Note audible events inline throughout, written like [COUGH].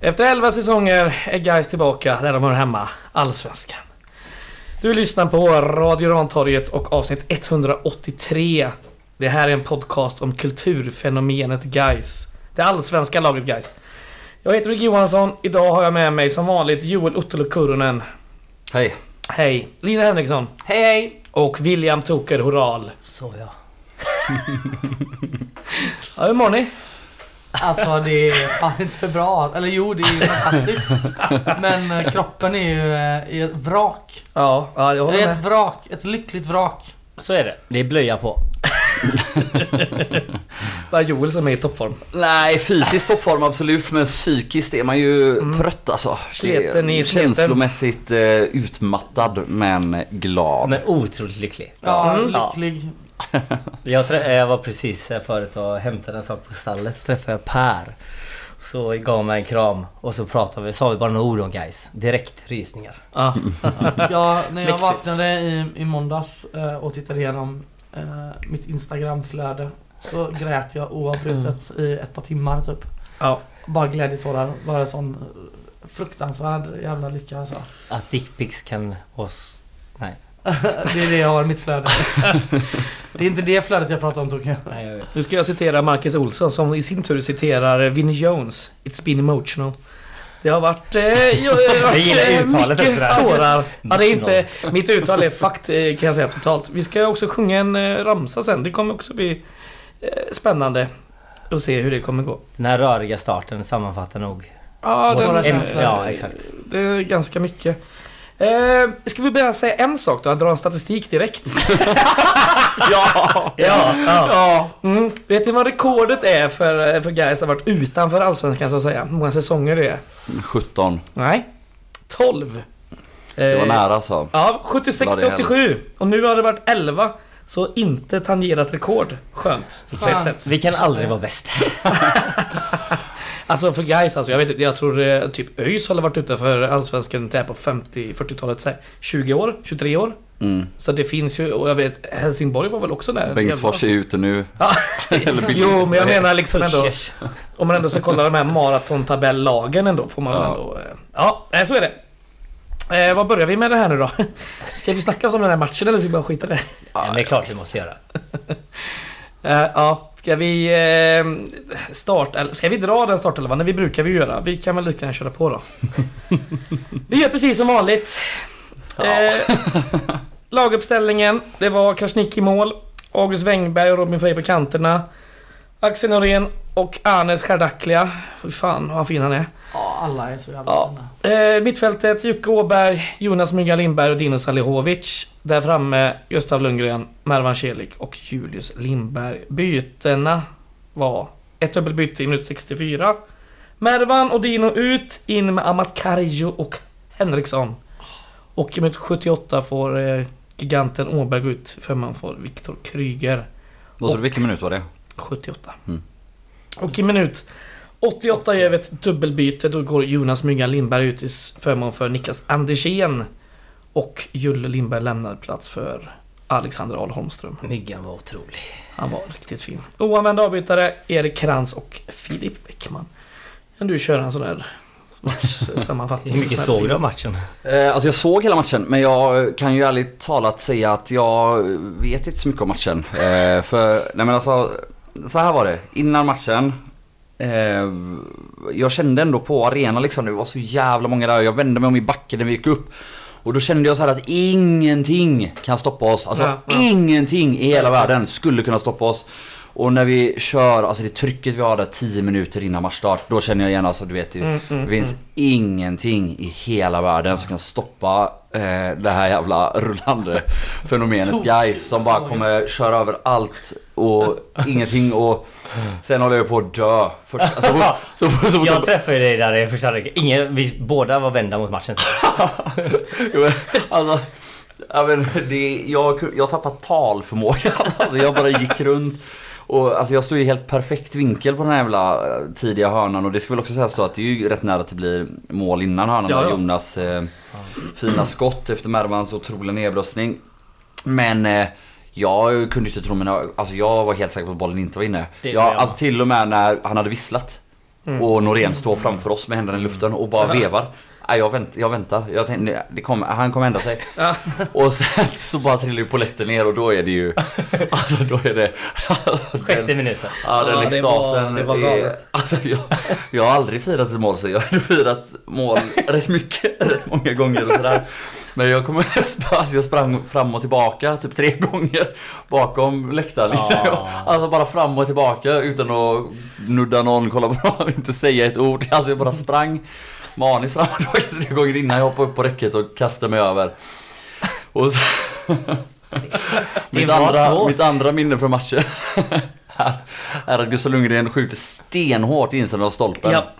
Efter 11 säsonger är Gais tillbaka där de hör hemma, Allsvenskan. Du lyssnar på Radio Rantorget och avsnitt 183. Det här är en podcast om kulturfenomenet Gais. Det allsvenska laget Gais. Jag heter Rick Johansson. Idag har jag med mig som vanligt Joel Ottolo Kurunen. Hej. Hej! Lina Henriksson. Hej hej! Och William Toker Horal. Så ja. Ja, hur mår ni? Alltså det [LAUGHS] är fan inte bra. Eller jo, det är ju fantastiskt. Men eh, kroppen är ju eh, i ett vrak. Ja, ja jag Det håller är ett med. vrak. Ett lyckligt vrak. Så är det. Det är blöja på. Bara Joel som är i toppform. Nej, fysiskt toppform absolut, men psykiskt är man ju trött alltså. Det är Mm. Sleten i sleten. känslomässigt eh, utmattad, men glad. Men otroligt lycklig. Ja, Mm. lycklig. Jag, trä- eh, jag var precis här förut och hämtade en sak på stallet. Så träffade jag Per. Så gav han mig en kram och så pratade vi. Sa vi bara några ord om guys. Direkt rysningar. Ja. Ja, när jag Mäktigt. vaknade i, i måndags eh, och tittade igenom eh, mitt instagramflöde så grät jag oavbrutet i ett par timmar typ. ja. Bara glädjetårar. Bara sån eh, fruktansvärd jävla lycka alltså. [LAUGHS] Att dickpics kan oss... Nej. Det är det jag har i mitt flöde. Det är inte det flödet jag pratar om Tokyo. Nej jag vet. Nu ska jag citera Marcus Olsson som i sin tur citerar Vinnie Jones. It's been emotional. Det har varit... [LAUGHS] Eh, jo, det har Jag gillar varit, eh, uttalet mycket efter det här. tårar. Ja, det är inte, mitt uttal är fakt eh, kan jag säga totalt. Vi ska också sjunga en eh, ramsa sen. Det kommer också bli eh, spännande att se hur det kommer gå. Den här röriga starten sammanfattar nog. Ja, vår- den- en, känslor. ja exakt. Det är ganska mycket. Eh, ska vi börja säga en sak då? Jag drar en statistik direkt. Ja! [LAUGHS] Ja, ja. Mm. Vet ni vad rekordet är för, för guys som har varit utanför Allsvenskan så att säga? Hur många säsonger det är? 17. Nej. 12. Det var Eh, nära alltså. så. Ja, 76 till 87. Och nu har det varit 11. Så inte tangerat rekord. Skönt. På ett Skönt. sätt. Vi kan aldrig vara bäst. Alltså för guys alltså, jag vet inte. Jag tror eh, typ ÖIS har varit utanför Allsvenskan där på 50-40-talet. så här, 20 år, 23 år. Mm. Så det finns ju, och jag vet Helsingborg var väl också där. Bengtsfors är ute nu. [LAUGHS] Eller Billy. Jo, men jag menar liksom ändå. Pushers. Om man ändå ska kolla de här maratontabellagen ändå får man väl Ja. ändå... eh, Ja, eh, så är det. Eh, vad börjar vi med det här nu då? [LAUGHS] Ska vi snacka om den här matchen eller ska vi bara skita i det? Ja, men det är klart vi måste göra. Eh, ja, ska vi eh, starta... eller Ska vi dra den startelvan? Nej, vi brukar vi ju göra. Vi kan väl lika gärna köra på då. vi gör precis som vanligt. Eh, laguppställningen. Det var Krasniqi i mål. August Wengberg och Robin Frey på kanterna. Axel Norén och Anes Chardaklia. Fy fan vad fin han är. Ja, alla är så jävla Ja. fina. Eh, mittfältet Jocke Åberg, Jonas Mygga Lindberg och Dino Salihovic. Där framme Gustav Lundgren, Mervan Celik och Julius Lindberg. Bytena var ett dubbelbyte i minut 64. Mervan och Dino ut, in med Amat Karijo och Henriksson. Och i minut 78 får eh, giganten Åberg gå ut, femman får Viktor Kryger. Vad sa du, vilken minut var det? 78. Mm. Och i minut 88 gör vi ett dubbelbyte. Då går Jonas Myggan Lindberg ut i förmån för Niklas Andersén. Och Julle Lindberg lämnar plats för Alexander Ahl Holmström. Myggan var otrolig. Han var riktigt fin. Oanvända avbytare, Erik Krantz och Filip Bäckman. Kan du köra en sån där [LAUGHS] matchsammanfattning? Hur mycket Sån här såg du av matchen? Eh, Alltså jag såg hela matchen men jag kan ju ärligt talat säga att jag vet inte så mycket om matchen. Eh, För, nej men alltså, så här var det. Innan matchen, eh, jag kände ändå på arenan liksom, det var så jävla många där. Jag vände mig om i backen när vi gick upp. Och då kände jag så här att ingenting kan stoppa oss. Alltså Ja, ja. ingenting i hela världen skulle kunna stoppa oss. Och när vi kör, alltså det trycket vi har där 10 minuter innan matchstart, då känner jag igen alltså du vet, det det finns ingenting i hela världen som kan stoppa eh, det här jävla rullande fenomenet guys som bara kommer köra över allt och ingenting och sen håller jag på att dö. Först, alltså, så, så, så, så, [LAUGHS] Jag träffade dig där i första halvlek. Ingen- Vi båda var vända mot [LAUGHS] matchen. Jo, men, alltså, ja, men det, jag, jag har tappat talförmågan. [LAUGHS] Alltså, jag bara gick runt. Och, alltså, jag stod i helt perfekt vinkel på den här jävla eh, tidiga hörnan. Och det ska väl också sägas då att det är ju rätt nära att det blir mål innan hörnan. Ja, där ja. Jonas eh, fina skott efter Mervans otroliga nedbröstning. Men eh, jag kunde inte tro mina Alltså jag var helt säker på att bollen inte var inne. Det Jag, var jag. alltså till och med när han hade visslat. Mm. Och Norén står framför oss med händerna i luften och bara vevar. Nej, jag, vänt, jag väntar. Jag tänkte, nej, det kommer, han kommer ändra sig. Ja. Och sen så bara trillar ju polletten ner och då är det ju... Alltså då är det... Alltså, Sjätte minuten. Ja, den Ja, det extasen. var- det var är- galet. [LAUGHS] Alltså, jag, jag har aldrig firat ett mål så jag har [LAUGHS] firat [LAUGHS] mål rätt mycket, [LAUGHS] rätt många gånger och sådär. Men jag kommer [LAUGHS] alltså, jag sprang fram och tillbaka typ tre [LAUGHS] gånger bakom läktaren. Ja. [LAUGHS] Alltså bara fram och tillbaka utan att nudda någon, kolla på någon, [LAUGHS] inte säga ett ord. Alltså jag bara sprang maniskt fram och tillbaka tre gånger innan jag hoppade upp på räcket och kastade mig över. Och så... [LAUGHS] mitt, var andra, svårt. mitt andra minne från matchen här är att Gustav Lundgren skjuter stenhårt i insidan av stolpen. Ja.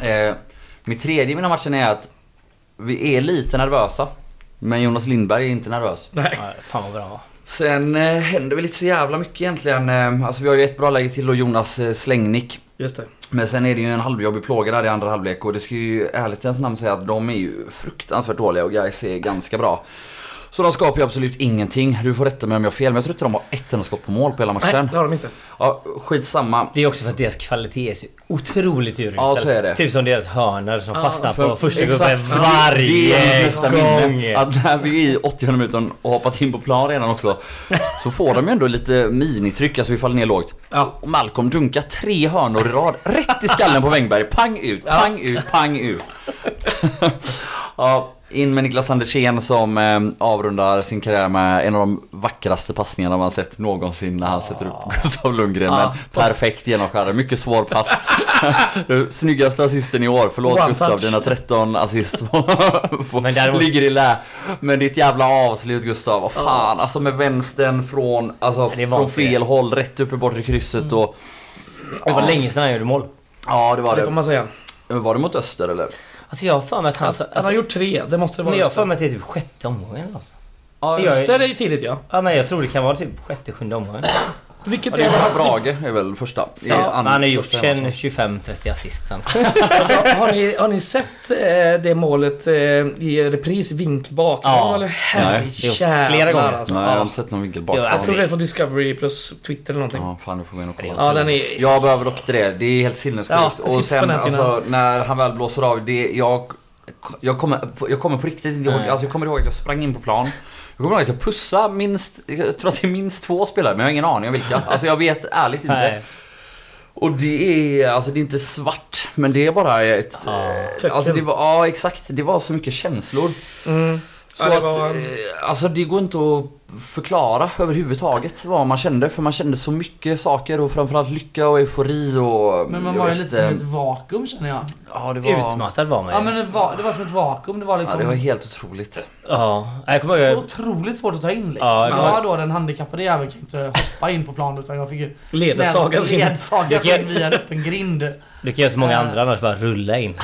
Mm. Eh, mitt tredje minne av matchen är att vi är lite nervösa. Men Jonas Lindberg är inte nervös. Nej. Ja, fan vad bra han var. Sen eh, händer väl inte så jävla mycket egentligen. Eh, alltså vi har ju ett bra läge till och Jonas eh, slängnick. Just det. Men sen är det ju en halvjobbig plåga där i andra halvlek och det ska ju ärligt ens namn säga att de är ju fruktansvärt dåliga och Gais är ganska bra. Så de skapar ju absolut ingenting. Du får rätta mig om jag har fel men jag tror inte de har ett enda skott på mål på hela matchen. Nej, det har de inte. Ja, skitsamma. Det är också för att deras kvalitet är så otroligt urusel. Ja, så är det. Typ som deras hörnor som Ja, fastnar För- på första exakt. gubben Det är mitt nästa varje gång. minne. Att när vi är i 80 minuten och hoppat in på plan redan också så får de ju ändå lite minitryck, alltså vi faller ner lågt. Ja. Och Malcolm dunkar tre hörnor i rad rätt i skallen på Wängberg. Pang ut, pang ut, pang ut. ja, in med Niklas Andersén som eh, avrundar sin karriär med en av de vackraste passningarna man sett någonsin när han sätter upp Gustav Lundgren. Ja. Men perfekt genomskärare, mycket svår pass. [LAUGHS] Du, Snyggaste assisten i år, förlåt One Gustav, touch. dina 13 assist på, på, Men däremot- ligger i lä. Men ditt jävla avslut Gustav, vad fan. Alltså med vänstern från, alltså, det är från vansinnigt. fel håll, rätt upp i bortre krysset och Det var länge sedan han gjorde mål. Ja det var Det får det. man säga. Var det mot öster eller? Alltså jag har för mig att han... Alltså, Han har gjort tre, det måste det vara. men jag har just det. för mig att det är typ sjätte omgången eller något. Ja, just Öster är ju tidigt ja. Ja men jag tror det kan vara typ sjätte, sjunde omgången. Vilket Det är var hans Brage är väl första. I Ja, andra- han har gjort första hemma. sen 25-30 assist sen. Alltså, har, ni, har ni sett eh, det målet eh, i repris vink bak? Ja. Eller, Nej. Jo, herrejävlar flera gånger. Alltså. Nej jag har Ja. inte sett någon vinkel bak. Jo, Jag Ja, tror det är från Discovery plus Twitter eller någonting. fan du får gå in och kolla. Ja, den är... Jag behöver dock inte det, det är helt sinnessjukt. Ja, och sist på sen den tiden. alltså, när han väl blåser av, det, jag, jag, kommer, jag kommer på riktigt inte ihåg, Nej. alltså, jag kommer ihåg att jag sprang in på plan. Jag kommer ihåg att jag pussade minst, jag tror att det är minst två spelare men jag har ingen aning om vilka. Alltså jag vet ärligt inte. Nej. Och det är, alltså det är inte svart men det är bara ett... Ja. eh, Alltså det var, ja exakt, det var så mycket känslor. Mm. Så Ja, det att, var- eh, alltså det går inte att förklara överhuvudtaget vad man kände för man kände så mycket saker och framförallt lycka och eufori och... Men man jag var ju vet lite som inte. ett vakuum känner jag. Ja det var... Utmattad var man ju. Ja men det var, det var som ett vakuum. Det var Ja, liksom det var helt otroligt. Ja, jag kommer så ihåg... otroligt svårt att ta in liksom. Ja, Ja, det men var- jag då den handikappade jäveln kan inte hoppa in på planen utan jag fick ju Ledsagas in. ledsagas Vilket- in via en öppen grind. Du kan göra som många andra annars, bara rulla in.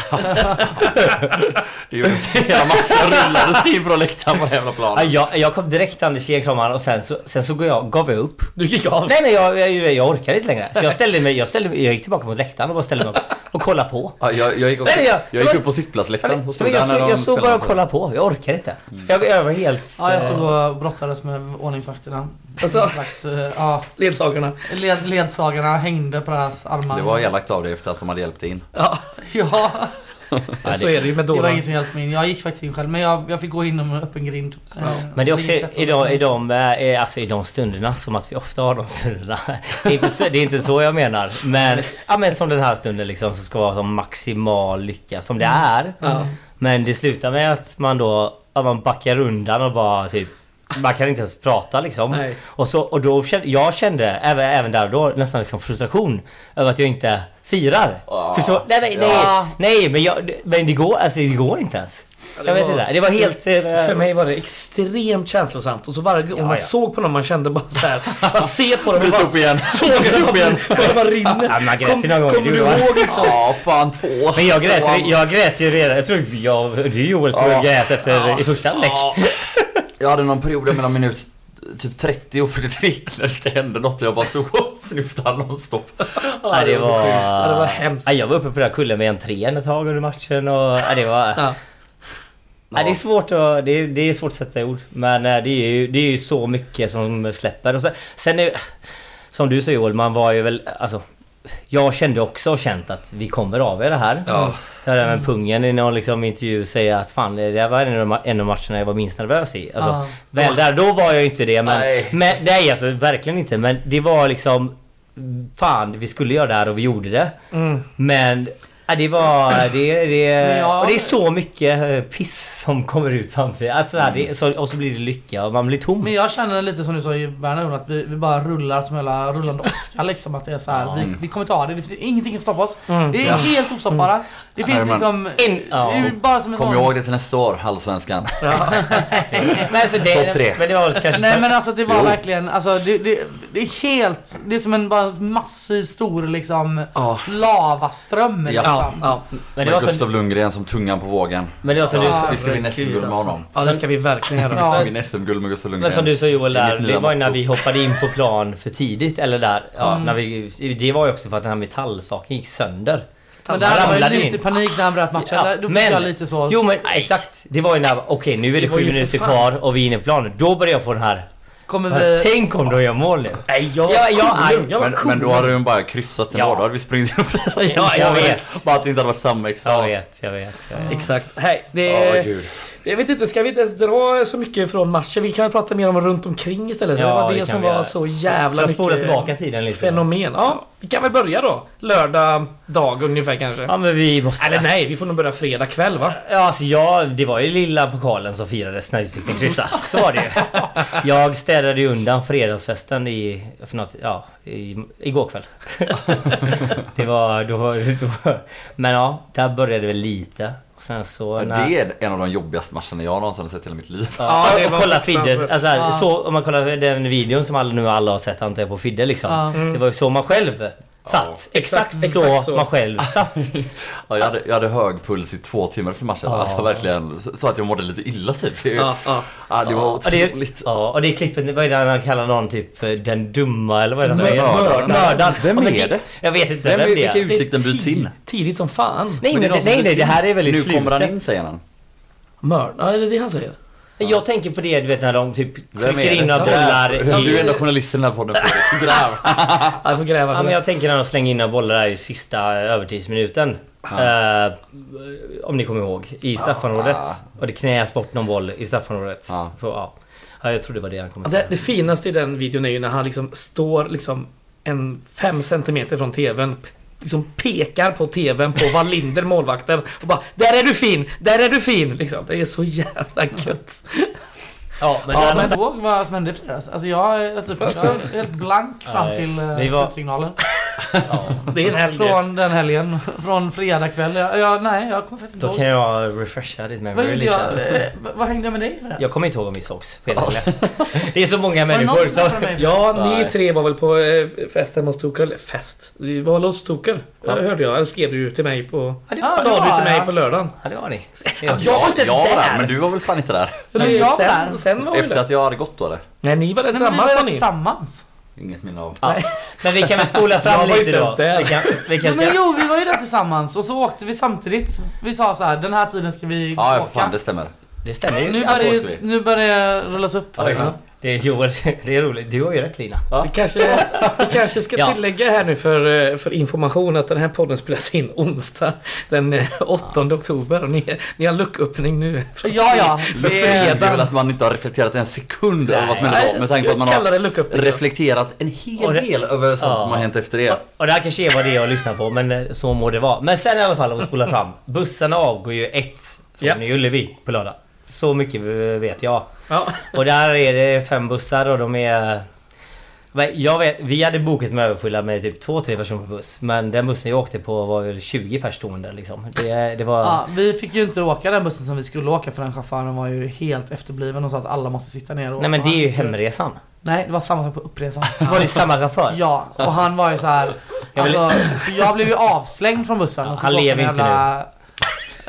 Det [LAUGHS] gjorde hela matchen [LAUGHS] rullades in från läktaren på jävla Ja, planen. jag, jag kom direkt till Anders G, kramade han och sen så, sen så går jag, gav jag upp. Du gick av. Nej men jag, jag, jag orkade inte längre. Så jag ställde mig, jag, ställde, mig- jag gick tillbaka mot läktaren och bara ställde mig upp och kollade på. Ja, jag, jag gick, också, Nej, jag- jag, gick men- upp på sittplatsläktaren och Jag, stod jag, där när jag, de jag stod bara spelade. och kollade på, jag orkade inte. Jag, jag var helt... eh, Ja jag stod och brottades med ordningsvakterna. Alltså- Någon Slags, eh, ja, Ledsagarna. led, ledsagarna hängde på deras armar. Det var elakt av dig efter att de hade hjälpt dig in. Ja, Ja, Ja, så det- är det ju med det var dårar. ingen som hjälpte mig in. Jag gick faktiskt in själv men jag, jag fick gå in om en öppen grind. Eh, Men det är också inget sätt att- i de, i, de, eh, alltså i de stunderna, som att vi ofta har de stunderna. Det är inte så, det är inte så jag menar. Men, ja, men som den här stunden liksom, som ska vara som maximal lycka, som det är. Ja. Men det slutar med att man då, att man backar undan och bara typ man kan inte ens prata liksom. Nej. Och, så, och då kände, jag kände även, även där och då nästan liksom frustration över att jag inte firar. Ah. Förstår? Nej, nej, nej, Ja. nej men, jag, men det går alltså det går inte ens. Ja, det Jag vet var- inte, det var helt... eh, För mig var det extremt känslosamt och så varje gång Ja, man ja. såg på någon man kände bara så här. Man ser på dem och Bryt bara... upp igen! Tåget upp igen! [LAUGHS] Det bara Ja, men rinner. man grät ju några gånger, kommer det du gjorde man. ihåg liksom? Ja, fan två. Men jag grät, Tvåan. ju- jag grät ju redan. Jag tror jag, du Joel tror jag Ja. grät efter i första läck. [LAUGHS] Jag hade någon period där mellan minut typ 30 och 43 när det inte hände något och jag bara stod och snyftade nonstop. Ja, det var... Ja, det var hemskt. Ja, jag var uppe på den här kullen med en tren ett tag under matchen och... Ja, det var... Ja. Ja, det är svårt att... Det är, det är svårt att sätta i ord. Men eh, det är ju, det är ju så mycket som släpper. Och sen, sen är, Som du sa Joel, man var ju väl... Alltså... jag kände också och känt att vi kommer av er det här. Ja. Jag hade även pungen i någon liksom intervju säga att fan det där var en av de- en av matcherna jag var minst nervös i. Alltså, Ja. Väl där då var jag ju inte det men... Nej. Nej. Men, nej alltså verkligen inte men det var liksom... Fan vi skulle göra det här och vi gjorde det. Mm. Men... Ja, det var... Det, det, Men ja. och det är så mycket eh, piss som kommer ut samtidigt. Alltså, så här, det, så, och så blir det lycka och man blir tom. Men jag känner lite som du sa i Berna att vi, vi bara rullar som hela rullande Oscar liksom. Att det är så här, vi, vi kommer ta det. Det finns ingenting som stoppar oss. Mm. Vi är Ja. helt ostoppbara. Det finns Iron liksom... In- ja. det är bara som en Kom sån- ihåg det till nästa år, Allsvenskan. Men alltså, det, Topp tre. Men det var väl kanske... Nej men alltså det var Jo. verkligen, alltså det, det, det är helt, det är som en bara massiv stor liksom Ja. lavaström Ja. Ja, liksom. ja. Men det Med var som, Gustav Lundgren som tungan på vågen. men det var som Ja, du vi ska vinna SM-guld med honom. alltså. Ja det ska vi verkligen göra. Ja. Vi ska vinna SM-guld med Gustav Lundgren. Men som du sa Joel Det är där, mitt det nya var ju när motto. vi hoppade in på plan för tidigt eller där. Ja, Mm. när vi, det var ju också för att den här metallsaken gick sönder. Men Han där var jag ramlade lite i in. panik när han bröt matchen, Ja, Där- då fick men- jag lite så... Jo men exakt. Det var ju när, okej nu är det Det var sju ju för minuter fan. kvar och vi är inne i planen. Då började jag få den här. kommer bara, vi... Tänk om de gör mål nu. Nej jag var Ja, jag- cool. Jag men, var cool. men då hade de bara kryssat ändå, Ja. då hade vi sprungit upp [LAUGHS] Ja, jag vet. Bara att det inte hade varit samma extas. Jag vet, jag vet. Jag vet. Exakt. Hej, det... Ja, gud. jag vet inte, ska vi inte ens dra så mycket från matchen? Vi kan väl prata mer om runt omkring istället. Ja, det var det det, kan som vi var göra. så jävla Jag spolar mycket tillbaka tiden lite. fenomen. Ja, vi kan väl börja då. Lördag dag ungefär kanske. Ja men vi måste... Eller nej, vi får nog börja fredag kväll va? Ja, alltså jag, det var ju lilla pokalen som firades när utsikten [LAUGHS] kryssade. Så var det ju. Jag städade ju undan fredagsfesten i, för något, ja, i, [LAUGHS] igår kväll. Det var, då, var- då var... Men ja, där började det lite. Och sen så... Ja, när- Det är en av de jobbigaste matcherna jag någonsin har sett i hela mitt liv. Ja, Ja, det och var kolla fruktansvärt. Fidde. Alltså, här, Ja. så, om man kollar den videon som alla, nu alla har sett antar jag på Fidde liksom. Ja. Mm. Det var ju så man själv satt. Exakt, Exakt så, så. man själv satt. [LAUGHS] Ja, jag, hade, jag hade hög puls i två timmar efter matchen. Ja. Alltså verkligen så så att jag mådde lite illa typ. Ja, Ja, ja. det var Ja, det- otroligt. Ja, och det är klippet, vad är det han kallar någon typ eh, den dumma eller vad är det han säger? Mördaren. Mördaren. Vem Ja, men är det? Jag vet inte Vem vem, är- det vilka är. ut- Utsikten Det är bryts in. tidigt- Tidigt som fan. Nej, Men men, det är de som nej, nej, bryts det här är väl i Nu slutet. kommer han in säger han. Mörd. Ja, är det det han säger? Jag tänker på det du vet när de typ Vem är trycker det? in några bollar Ja, Du är i... enda journalisten i den här podden. [LAUGHS] Fredrik. Det där. Ja, jag får gräva Ja, för men det. jag tänker när de slänger in några bollar där i sista övertidsminuten. Ah. Eh, om ni kommer ihåg. I straffområdet. Och det knäas bort någon boll i straffområdet. Ah. Ja. För, ja. ja, jag tror det var det han kom Ja, fram Det, det finaste i den videon är ju när han liksom står liksom en fem centimeter från TVn. Liksom pekar på TVn på Wallinder, målvakten. Och bara Där är du fin! Där är du fin! Liksom. Det är så jävla gött. Ja, men Ja, där men någonstans- jag ihåg vad som hände i fredags. Alltså jag är typ, jag är helt blank fram Nej. till Vi eh, var- slutsignalen. ja. Det är en helg. det. Från den helgen, från fredag kväll. Jag, jag, nej, jag kommer faktiskt inte Då ihåg. kan jag refresha Vad ditt memory gjorde lite. jag? Eh, vad- Vad hängde jag med dig i fredags? Jag kommer inte ihåg om vi sågs på Ah. hela kvällen. [LAUGHS] Det är så många Var det någon människor som som... träffade mig? Ja, Nej. ni tre var väl på eh, festen hos Toker? Eller fest? Vi var väl hos Toker? Ja. Hörde jag. Eller skrev du ju till mig på... Ja, det Ja, var, det Sa du var till mig jag. på lördagen? ja, det var ni. Jag var inte ens jag var där. där, men du var väl fan inte där? Men Nej, jag var sen, där. sen var vi Efter där. att jag hade gått då eller? Nej, ni var där Nej, men vi var tillsammans sa ni. tillsammans. Inget minne av. Ja. Men vi kan väl spola fram Jag var lite inte då. ens där. Vi kan, vi Jo, kanske men ska... jo, vi var ju där tillsammans och så åkte vi samtidigt. Vi sa så här, den här tiden ska vi Ja, ja, åka. för fan det stämmer. Det stämmer ju. Nu Ja, så börjar, åkte vi. nu börjar det rullas upp. Ja, det är klart. Det är Joel, det är roligt. Du har ju rätt Lina. Vi kanske, vi kanske ska Ja. tillägga här nu för, eh, för information att den här podden spelas in onsdag den eh, 8 oktober och ni, ni har lucköppning nu. Ja, ja. Men Det- fredag är väl att man inte har reflekterat en sekund över vad som hände då med tanke på att man Jag kallar har det lucköppning. reflekterat en Och hel det- del över sånt Ja. som har hänt efter det. Och det här kanske är vad det är att lyssna på men eh, så må det vara. Men sen i alla fall om vi spolar fram. Bussarna avgår ju ett från Ja. Nya Ullevi på lördag. Så mycket eh, vet jag. Ja. Och där är det fem bussar och de är... Men Jag vet, vi hade bokat med överfulla med typ två, tre personer på buss. Men den bussen jag åkte på var väl 20 personer stående liksom. Det, det var... Ja, vi fick ju inte åka den bussen som vi skulle åka för den chauffören var ju helt efterbliven och sa att alla måste sitta ner och Nej men det är ju åka. hemresan. Nej, det var samma sak på uppresan. Var det samma chaufför? Ja, och han var ju så här. Jag vill- Alltså, så jag blev ju avslängd från bussen. Ja, och fick han åka lever en inte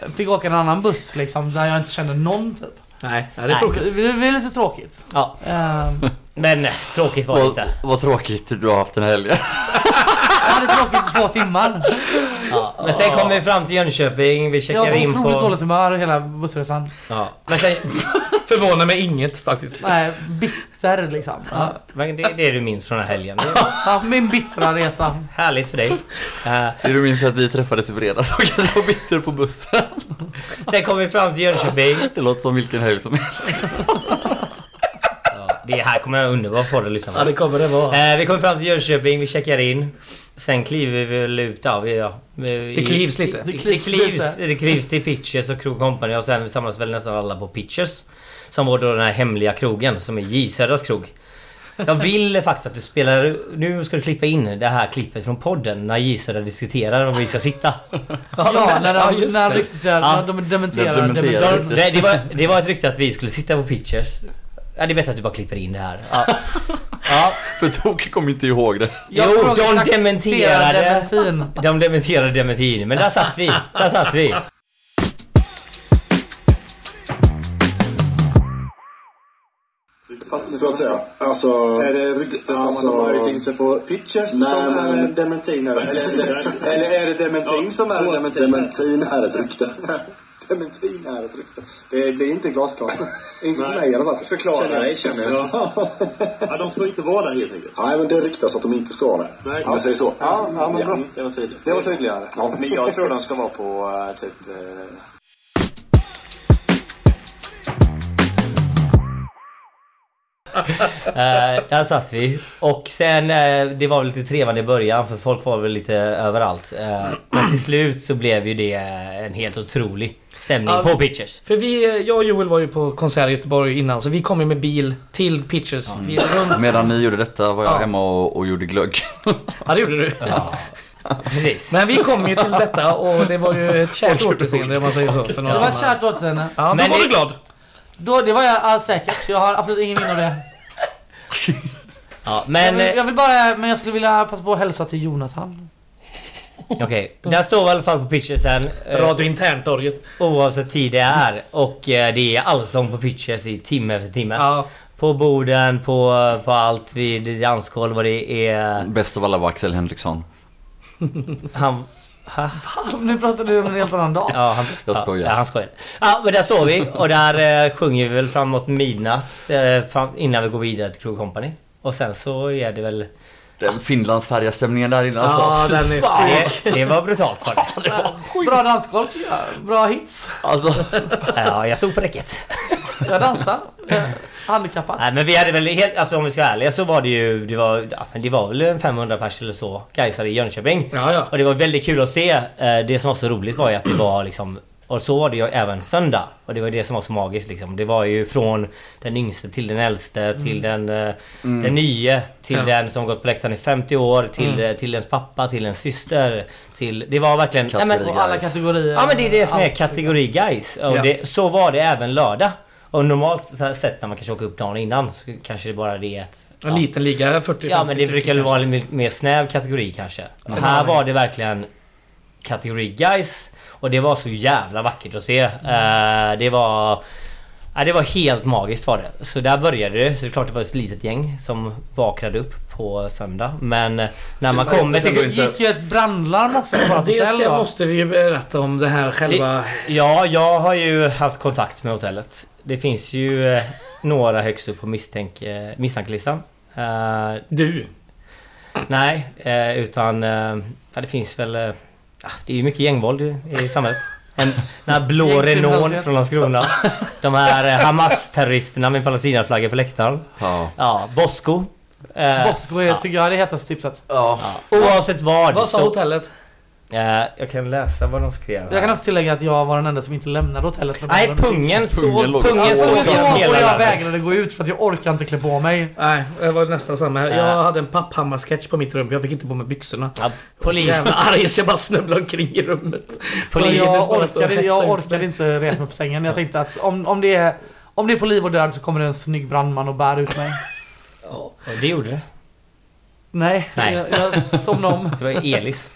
nu. Fick åka en annan buss liksom, där jag inte kände någon typ. Nej, det är Nej. tråkigt. Det det är lite tråkigt. Ja. Ehm, Men eh, tråkigt var det Vad, inte. vad tråkigt du har haft den [LAUGHS] här helgen. jag hade tråkigt i två timmar. Ja. Men sen kom vi fram till Jönköping, vi Jag checkade var in otroligt på... dåligt humör hela bussresan. Ja. Men sen... Förvånar mig inget faktiskt. Nej, bitter liksom. Ja. Ja, men det är det du minns från den här helgen. Det är Ja, min bittra resa. härligt för dig. [LAUGHS] Eh, Du minns att vi träffades i fredags och [LAUGHS] jag var bitter på bussen. sen kom vi fram till Jönköping. Det låter som vilken helg som helst. [LAUGHS] Ja, det här kommer jag underbart för att lyssna på. Ja det kommer det vara. Eh, vi kommer fram till Jönköping, vi checkar in. Sen kliver vi väl ut där. Vi, ja, i- Det klivs lite. Det Det klivs, klivs det klivs, till Pitchers och Krog Company och sen samlas väl nästan alla på Pitchers. Som var då den här hemliga krogen som är J Södras krog. Jag vill faktiskt att du spelar... Nu ska du klippa in det här klippet från podden när J Södra diskuterar om vi ska sitta. Ja, när, Ja, de, just när det. ryktet är... Ja. När de dementerar. De dementerar. dementerar. ryktet. Det, det, var, det var ett rykte att vi skulle sitta på Pitchers. Ja, det är bättre att du bara klipper in det här. Ja. Ja. För Toke kom inte ihåg det. Jag Jo, frågar de exakt- dementerade. Dementin. De dementerade dementin, men där satt vi. Där satt vi. Så att säga. Alltså... Är det rykten Alltså- om att de har ryckt in sig på pitchers Nej, som är men- dementin? [LAUGHS] Eller, eller, eller är det dementin som är dementin? Dementin är ett rykte. [LAUGHS] dementin är ett rykte. Det blir inte glasklart. inte för Nej. mig i alla fall. Förklara dig, känner jag. [LAUGHS] ja, de ska inte vara där helt enkelt. Nej, men det ryktas att de inte ska det. Nej. Om vi säger så. Ja, ja, men bra. Det var tydligt. Det var tydligare. Ja. Men jag tror de ska vara på eh, typ... eh, Eh, där satt vi. Och sen, eh, det var väl lite trevande i början för folk var väl lite överallt. Eh, men till slut så blev ju det eh, en helt otrolig stämning Ja. på Pitchers. För vi, eh, jag och Joel var ju på konsert i Göteborg innan så vi kom ju med bil till Pitchers. Vi runt. Medan ni gjorde detta var jag Alltså- Ja. hemma och, och gjorde glögg. [LAUGHS] Ja det gjorde du. Precis. Men vi kom ju till detta och det var ju [LAUGHS] ett kärt återseende om man säger så. För Det några var ett timmar. kärt återseende. Ja, då Men var det- du glad. Då, det var jag ja, säkert. Jag har absolut ingen minne av det. ja, Men, men jag, vill, jag eh, vill bara... Men jag skulle vilja passa på att hälsa till Jonathan. [LAUGHS] eh, okej, där står vi i alla fall på Pitchersen. Eh, Radio Interntorget. oavsett tid det är. Och eh, det är allsång på Pitchers i timme efter timme. Ja. På borden, på, på allt, vid dansgolv vad det är. Bäst av alla var Axel Henriksson. Han, Nu pratar du om en helt annan dag. Ja, han, Jag ja, skojar. Ja, han skojar. Ja, men där står vi och där eh, sjunger vi väl framåt midnatt eh, fram, innan vi går vidare till Crew Company. Och sen så är det väl... Den finlandsfärdiga stämningen där inne Ja, alltså. den är... fan. Det, det var brutalt var det. Bra dansgolv tycker jag. Bra hits. [LAUGHS] alltså. Ja, jag stod på räcket. Jag dansar. Eh, Handikappat. Nej men vi hade väl helt... Alltså om vi ska vara ärliga så var det ju... Det var, ja, men det var väl en 500 pers eller så Gaisare i Jönköping. Ja, ja. Och det var väldigt kul att se. Eh, Det som var så roligt var ju att det var liksom... Och så var det ju även söndag. Och det var ju det som var så magiskt liksom. Det var ju från den yngste till den äldste till den, eh, den nye till Ja. den som gått på läktaren i 50 år till, eh, till ens pappa, till ens syster. Till, det var verkligen... Nej, men, Kategori Och alla guys. kategorier. Ja men det är det som är Allt, liksom. kategori guys. Och Ja. det, så var det även lördag. Och normalt så här sett när man kanske åker upp dagen innan så kanske det bara är det ett... En Ja, liten liga, 40 ja men det 50 brukar väl stycken vara en lite mer snäv kategori kanske. Och Mm. här var det verkligen kategori guys. Och det var så jävla vackert att se. Eh, det var... Ja, det var helt magiskt var det. Så där började det. Så det är klart det var ett litet gäng som vaknade upp på söndag. Men när man kommer det går till... inte. gick ju ett brandlarm också på vårt Det hotell ska, då. måste vi ju berätta om det här själva... Ja, jag har ju haft kontakt med hotellet. Det finns ju eh, några högst upp på misstänk, eh, misstankelistan. Eh, Du. nej, eh, utan eh, ja, det finns väl... Eh, ja, det är ju mycket gängvåld i, i samhället. En, den här blå Gängkriminalitet. Renault från Landskrona. De här eh, Hamas-terroristerna med palestinaflaggor på läktaren. Ja. Ja, Bosko. Eh, Bosco är, tycker jag är det hetaste tipset. ja. oavsett vad. Vad sa så- hotellet? eh, jag kan läsa vad de skrev. Jag kan här. också tillägga att jag var den enda som inte lämnade hotellet. när Nej, barnen- pungen Pungen såg... låg- Pungen Jag såg såg så- genom så och hela jag landet. vägrade gå ut för att jag orkade inte klä på mig. Nej, det var nästan samma här. Jag Nej. hade en papphammar-sketch på mitt rum för jag fick inte på mig byxorna. Ja, polis, Jävla arg så jag bara snubblade omkring i rummet. Men polis, Linus jag bara står och orkade, [LAUGHS] hetsar jag ut orkade mig. inte resa mig på sängen. Jag tänkte att om, om, det är, om det är på liv och död så kommer det en snygg brandman och bär ut mig. Ja, Det gjorde det. Nej, Nej. Jag, jag somnade om. Det var Elis.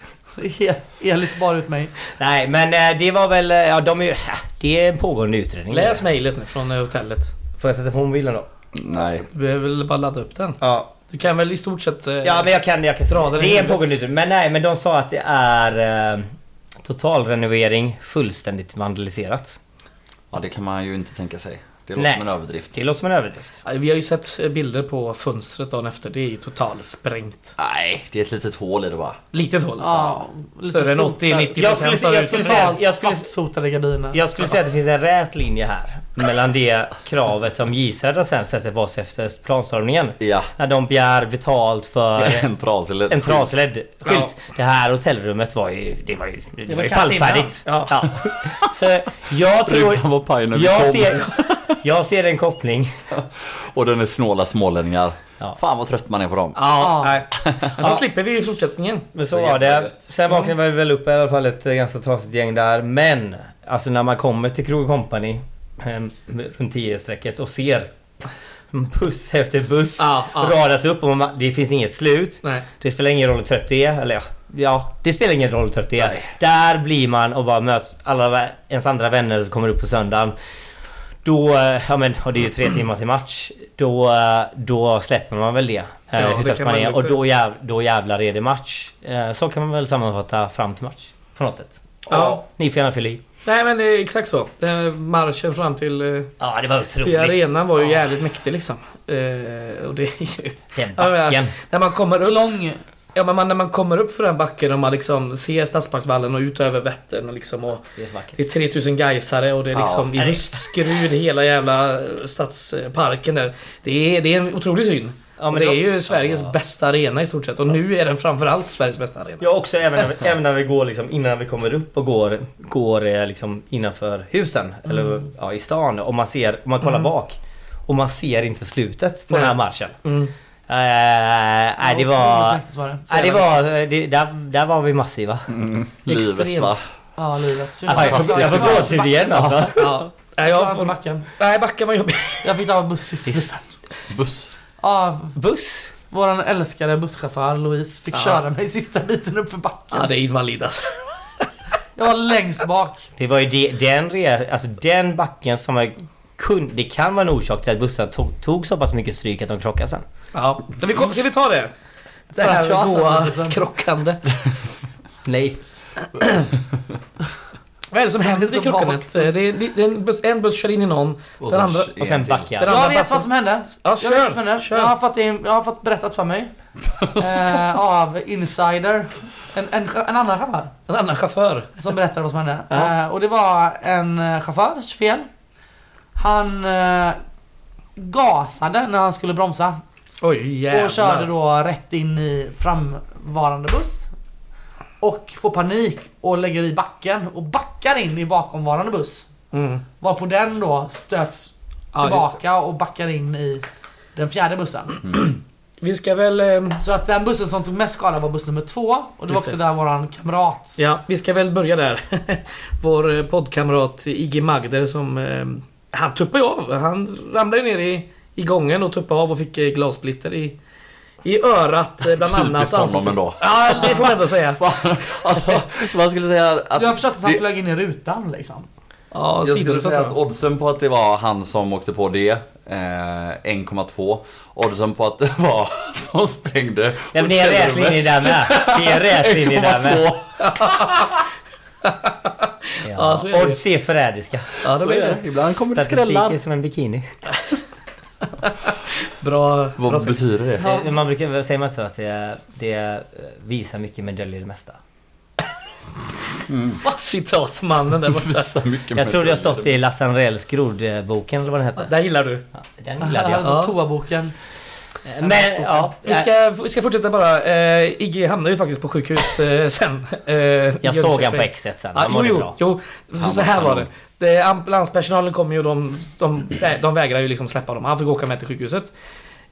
E- Elis bar ut mig. Nej, Nej men eh, det var väl... eh, Ja de är ju... äh, Det är en pågående utredning. Läs mejlet nu från eh, hotellet. Får jag sätta på mobilen då? Nej. Du behöver väl bara ladda upp den. Ja. Du kan väl i stort sett... eh, Ja men jag kan... Jag kan Dra den i det är en huvudet. pågående utredning. Men nej men de sa att det är... Eh, totalrenovering fullständigt vandaliserat. Ja det kan man ju inte tänka sig. Det låter Nej. som en överdrift. Det låter som en överdrift. Ja, Vi har ju sett eh, bilder på fönstret dagen efter. Det är ju totalsprängt. Nej, det är ett litet hål i det bara. Litet hål. Ja, Större än 80-90% Jag av skulle- jag huset. skulle säga- Totalt Jag skulle- svartsotade gardiner. Jag skulle säga att det finns en rät linje här. Mellan det kravet som J Södra sen sätter på sig efter planstormningen. Ja. När de begär betalt för [LAUGHS] En prat eller en trasledd skylt. Det här hotellrummet var ju... Det var ju, det var ju kass fallfärdigt. innan. Ja. Så jag tror... Rutan var paj när vi Alltså, Jag kom. ser, jag ser en koppling. Och den är snåla smålänningar. Ja. Fan vad trött man är på dem. [LAUGHS] Ja, nej. Men då slipper vi i fortsättningen. Men så Det är var det. jättegött. Sen vaknade Mm. vi väl upp i alla fall ett eh, ganska trasigt gäng där. Men alltså när man kommer till Krog Company eh, runt 10-strecket och ser buss efter buss Ja, ja. radas upp och man, det finns inget slut. Nej. Det spelar ingen roll hur trött du är. Eller ja, ja det spelar ingen roll hur trött du är. Nej. Där blir man och bara möts alla vä- ens andra vänner som kommer upp på söndagen. Då, eh, ja men och det är [CLEARS THROAT] ju tre timmar till match. Då, eh, då släpper man väl det. eh, det hur trött kan man man är. lugnt Och då, jäv, då jävlar är det match. Eh, Så kan man väl sammanfatta fram till match. På något sätt. Ja. Ni får gärna fylla i. Nej men det är exakt så. Den här marschen fram till, eh, Ja det var till otroligt. arenan var ju jävligt mäktig liksom. Eh, och det är ju... Den Ja, men, backen. När man kommer upp... Lång. Ja men man, när man kommer upp för den backen och man liksom ser Stadsparksvallen och ut över Vättern och liksom och Det är så vackert. Det är 3000 gaisare och det är Ja. liksom i Nej. höstskrud hela jävla eh, stadsparken där. Det är, det är en otrolig syn. Ja, och men det då- är ju Sveriges Ja. bästa arena i stort sett och nu är den framförallt Sveriges bästa arena. Ja också även när, vi, även när vi går liksom innan vi kommer upp och går, går eh, liksom innanför husen. Eller ja, i stan. Och man ser, man kollar bak. Och man ser inte slutet på Nej. den här matchen. Mm. Eh, Nej det var... Otroligt mäktigt var det. Så Nej det jävla- var... Det, där, där var vi massiva. Mm, Livet Extremt. va? Ja, livet. Synd. Ja, jag får- jag får gåshud igen alltså. Ja. Nej, Jag jag får får, backen. nej, backen var jobbig. Jag fick ta buss sist. Visst. Buss. Ja, Buss. våran älskade busschaufför Louise fick Ja. köra mig sista biten upp för backen. Ja, det är invalid alltså. Jag var längst bak. Det var ju de, den, re, alltså, den backen som jag kunde... Det kan vara en orsak till att bussarna tog, tog så pass mycket stryk att de krockade sen. Ja. Så vi, kom- ska vi ta det? Det För att jag här satt lite goa sen. krockandet. Nej. Vad är det som händer så i krockandet? vagt. Det är, det är en, buss, en buss kör in i någon. Och Den andra- Och sen backade Den jag. andra Jag vet bussen- vad som hände. Ja, Jag vet vad som kör! hände. Jag har fått, in, jag har fått berättat [LAUGHS] för mig. eh, av insider. En, en, en annan chaufför. En annan chaufför. Som berättade vad som hände. Ja. Eh, och det var en eh, chaufförs fel. Han eh, gasade när han skulle bromsa. Oj jävlar. Och körde då rätt in i framvarande buss. Och får panik och lägger i backen och backar in i bakomvarande buss. Mm. Varpå den då stöts Ja, just tillbaka och backar in i den fjärde Mm. bussen. Vi ska väl... ehm, Så att den bussen som tog mest skada var buss nummer två. Och det Just var också det. där våran kamrat Ja, vi ska väl börja där. [LAUGHS] Vår eh, poddkamrat Igge Magder som... Eh, han tuppade ju av. Han ramlade ju ner i, i gången och tuppade av och fick eh, glassplitter i, i örat eh, bland annat. Typiskt honom Ansiktet. ändå. Ja, det får man ändå [LAUGHS] säga. [LAUGHS] Alltså, [LAUGHS] man skulle säga att... Jag försökte att han det- flög in i rutan liksom. Ja, Jag skulle sidotuppar. säga att oddsen på att det var han som åkte på det, eh, 1,2. Oddsen på att det var han som sprängde Ja, men det är en rät linje där med. Det är en rät linje där med. 1,2. Ja, så är Ja. det. Odds är förrädiska. Ja, det blir det. Ibland kommer det Statistik skrällar. är som en bikini. Bra, bra Vad [LAUGHS] sagt. betyder det? Eh, Man brukar säga man så att det, det eh, visar mycket men döljer det mesta. Citatmannen där borta. Alltså, mycket Jag tror det har stått det. i Lasse Anrells grodboken eller vad den heter. Där gillar du. Ja, Den gillade [LAUGHS] jag. Alltså Ja. toaboken. Men ja, Vi ska, vi ska fortsätta bara. Eh, Igge hamnade ju faktiskt på sjukhus eh, sen. Eh, jag såg han på exet sen. Ja, Han jo, mådde jo, bra. jo. Så, Han så här var var det. det. Ambulanspersonalen kom ju och de, de, de vägrade ju liksom släppa dem. Han fick åka med till sjukhuset.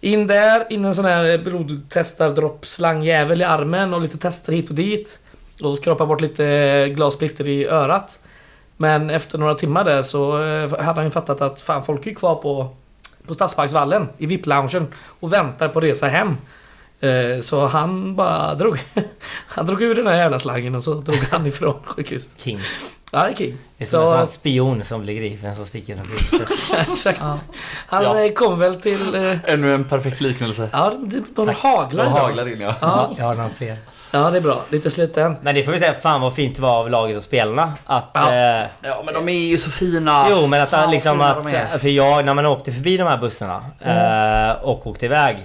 In där, in en sån här blodtestardroppslangjävel i armen och lite tester hit och dit. Och skrapa bort lite glassplitter i örat. Men efter några timmar där så eh, hade han ju fattat att fan folk är ju kvar på, på Stadsparksvallen i VIP-loungen och väntar på resa hem. Eh, Så [LAUGHS] han bara drog. Han drog ur den här jävla slangen och så drog han [LAUGHS] ifrån sjukhuset. King. Han är king. Det är som en Så- sån spion som blir gripen som sticker genom huset. Exakt. Ja. Han Ja. eh, kom väl till... eh, Ännu en perfekt liknelse. Ja, de, de haglar De idag. haglar in ja. [LAUGHS] Ja, Jag har några fler. ja, det är bra. Lite sluten. Men det får vi säga, fan vad fint det var av laget och spelarna. Att... Ja. Eh, Ja men de är ju så fina. Jo men att Fan, liksom vad fina att... de är. För jag, när man åkte förbi de här bussarna eh, och åkte iväg.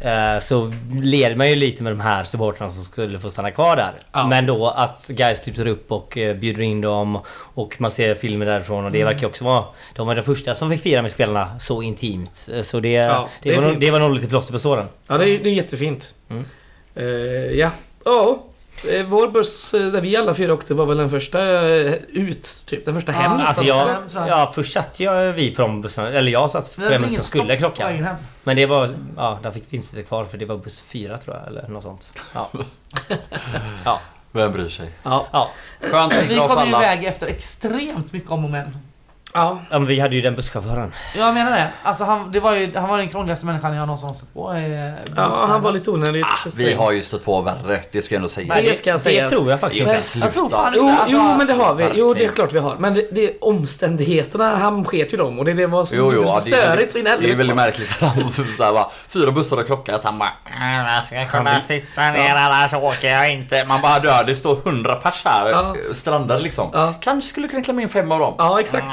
eh, Så led man ju lite med de här supportrarna som skulle få stanna kvar där. Ja. Men då att guys lyfter upp och eh, bjuder in dem och man ser filmer därifrån och det verkar ju också vara... De var de första som fick fira med spelarna så intimt. Eh, Så det, Ja, det, det är var, nog, fint. det var nog lite plåster på såren. Ja, det är, det är jättefint. Mm. Eh, ja. Ja. eh, Vår buss eh, där vi alla fyra åkte var väl den första eh, ut, typ. Den första Ja, hem. Alltså Nästan jag, fem, tror jag. ja, först satt jag vi på de bussarna, eller jag satt på den som skulle krocka. Men det var, ja där fick finns inte kvar för det var buss 4 tror jag eller något sånt. Ja. ja. Vem bryr sig? Ja. Ja. Skönt, Vi bra för kom ju alla. iväg efter extremt mycket om och men. Ja. ja men vi hade ju den busschauffören. Jag menar det. Alltså han, det var ju, han var den krångligaste människan jag någonsin har stött på. eh, ja, bussen. han var lite onödigt. Ah, Vi har ju stött på värre, det ska jag ändå säga. Nej, det ska jag säga. Det tror jag faktiskt Men- inte. Sluta. Jag tror fan Jo, inte alltså, jo, men det har vi. Jo, det är verkligen. klart vi har. Men det, det är omständigheterna. Han sket ju dem och det, det var så Jo, jo, ja, det, är störigt så in i väldigt, det är helvete. väldigt märkligt att han så här, bara, fyra bussar har krockat. Han bara... "Äh, "Jag ska kunna sitta ner annars åker jag inte. Man bara dör, det står hundra pers här. Ja. eh, Strandade liksom. Ja. Kanske skulle kunna klämma in fem av dem. Ja, exakt.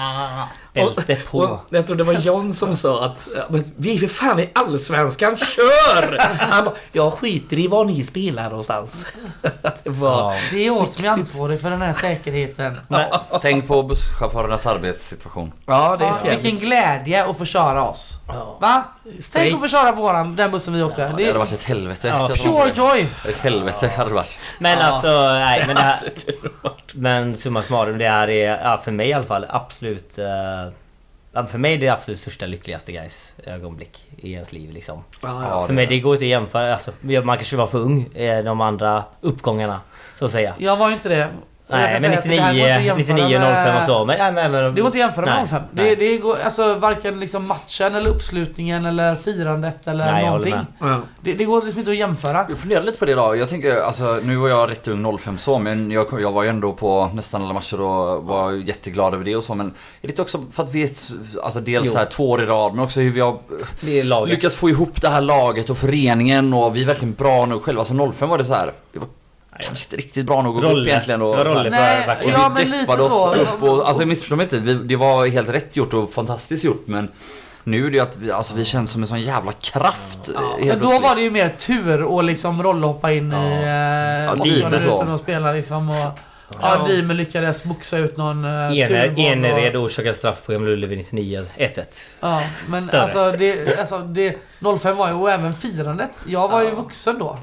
Bälte Och, och på. jag tror det var John som sa att ja, men vi är för fan i Allsvenskan, kör! Han bara, jag skiter i var ni spelar någonstans. [LAUGHS] det var... Ja. Det är jag som är ansvarig för den här säkerheten. Men, tänk på busschaufförernas arbetssituation. Ja, det är Ja, för vilken jävligt. glädje att få köra oss. Va? Tänk att få köra våran, den bussen vi åkte. Det det hade är varit ett helvete. Ja, Jag tror pure inte joy. det. Ett helvete hade det varit. Men Ja. alltså nej men [LAUGHS] det här, Men summa summarum det här är ja, för mig i alla fall absolut eh, ja, för mig är det absolut största lyckligaste guys ögonblick i ens liv liksom. Ja, ja. Ja, för mig det går inte att jämföra. Alltså, man kanske var för ung eh, de andra uppgångarna. Så att säga. Jag var ju inte det. Och jag Nej kan men säga att det här går inte att 99, jämföra 99 05 och så. Men, nej, men, men, Det går inte att jämföra Nej, med 05. Det, nej. det går, alltså, varken liksom matchen eller uppslutningen eller firandet eller Nej, jag håller någonting. med. Ja. Det, det går liksom inte att jämföra. Jag funderar lite på det idag. Jag tänker, alltså nu var jag rätt ung 05 så, men jag, jag var ju ändå på nästan alla matcher och var ju jätteglad över det och så. Men är det inte också för att vi, är ett- alltså dels Jo. så här två år i rad, men också hur vi har eh, Det är laget. lyckats få ihop det här laget och föreningen och vi är verkligen bra nog själva. Alltså 05 var det så här, det var kanske inte riktigt bra nog att gå upp Rolle. egentligen. Och, Det var rolle. Nej, verkligen. ja och vi men lite deffade oss så. upp och, alltså missförstå mig inte, vi, det var helt rätt gjort och fantastiskt gjort men nu är det ju att vi, alltså, vi känns som en sån jävla kraft. eh, helt Men då plötsligt. var det ju mer tur att liksom rollhoppa in Ja. i Ja, eh, lite 80 så. minuten och spela liksom. Och, ja, Ja. Diemer lyckades boxa ut någon eh, Ener, turboll och- Enered orsakar straff på Gamla Ullevi 99 1-1. Ja, men Större. alltså det, alltså det... 05 var ju, och även firandet. Jag var ju vuxen då.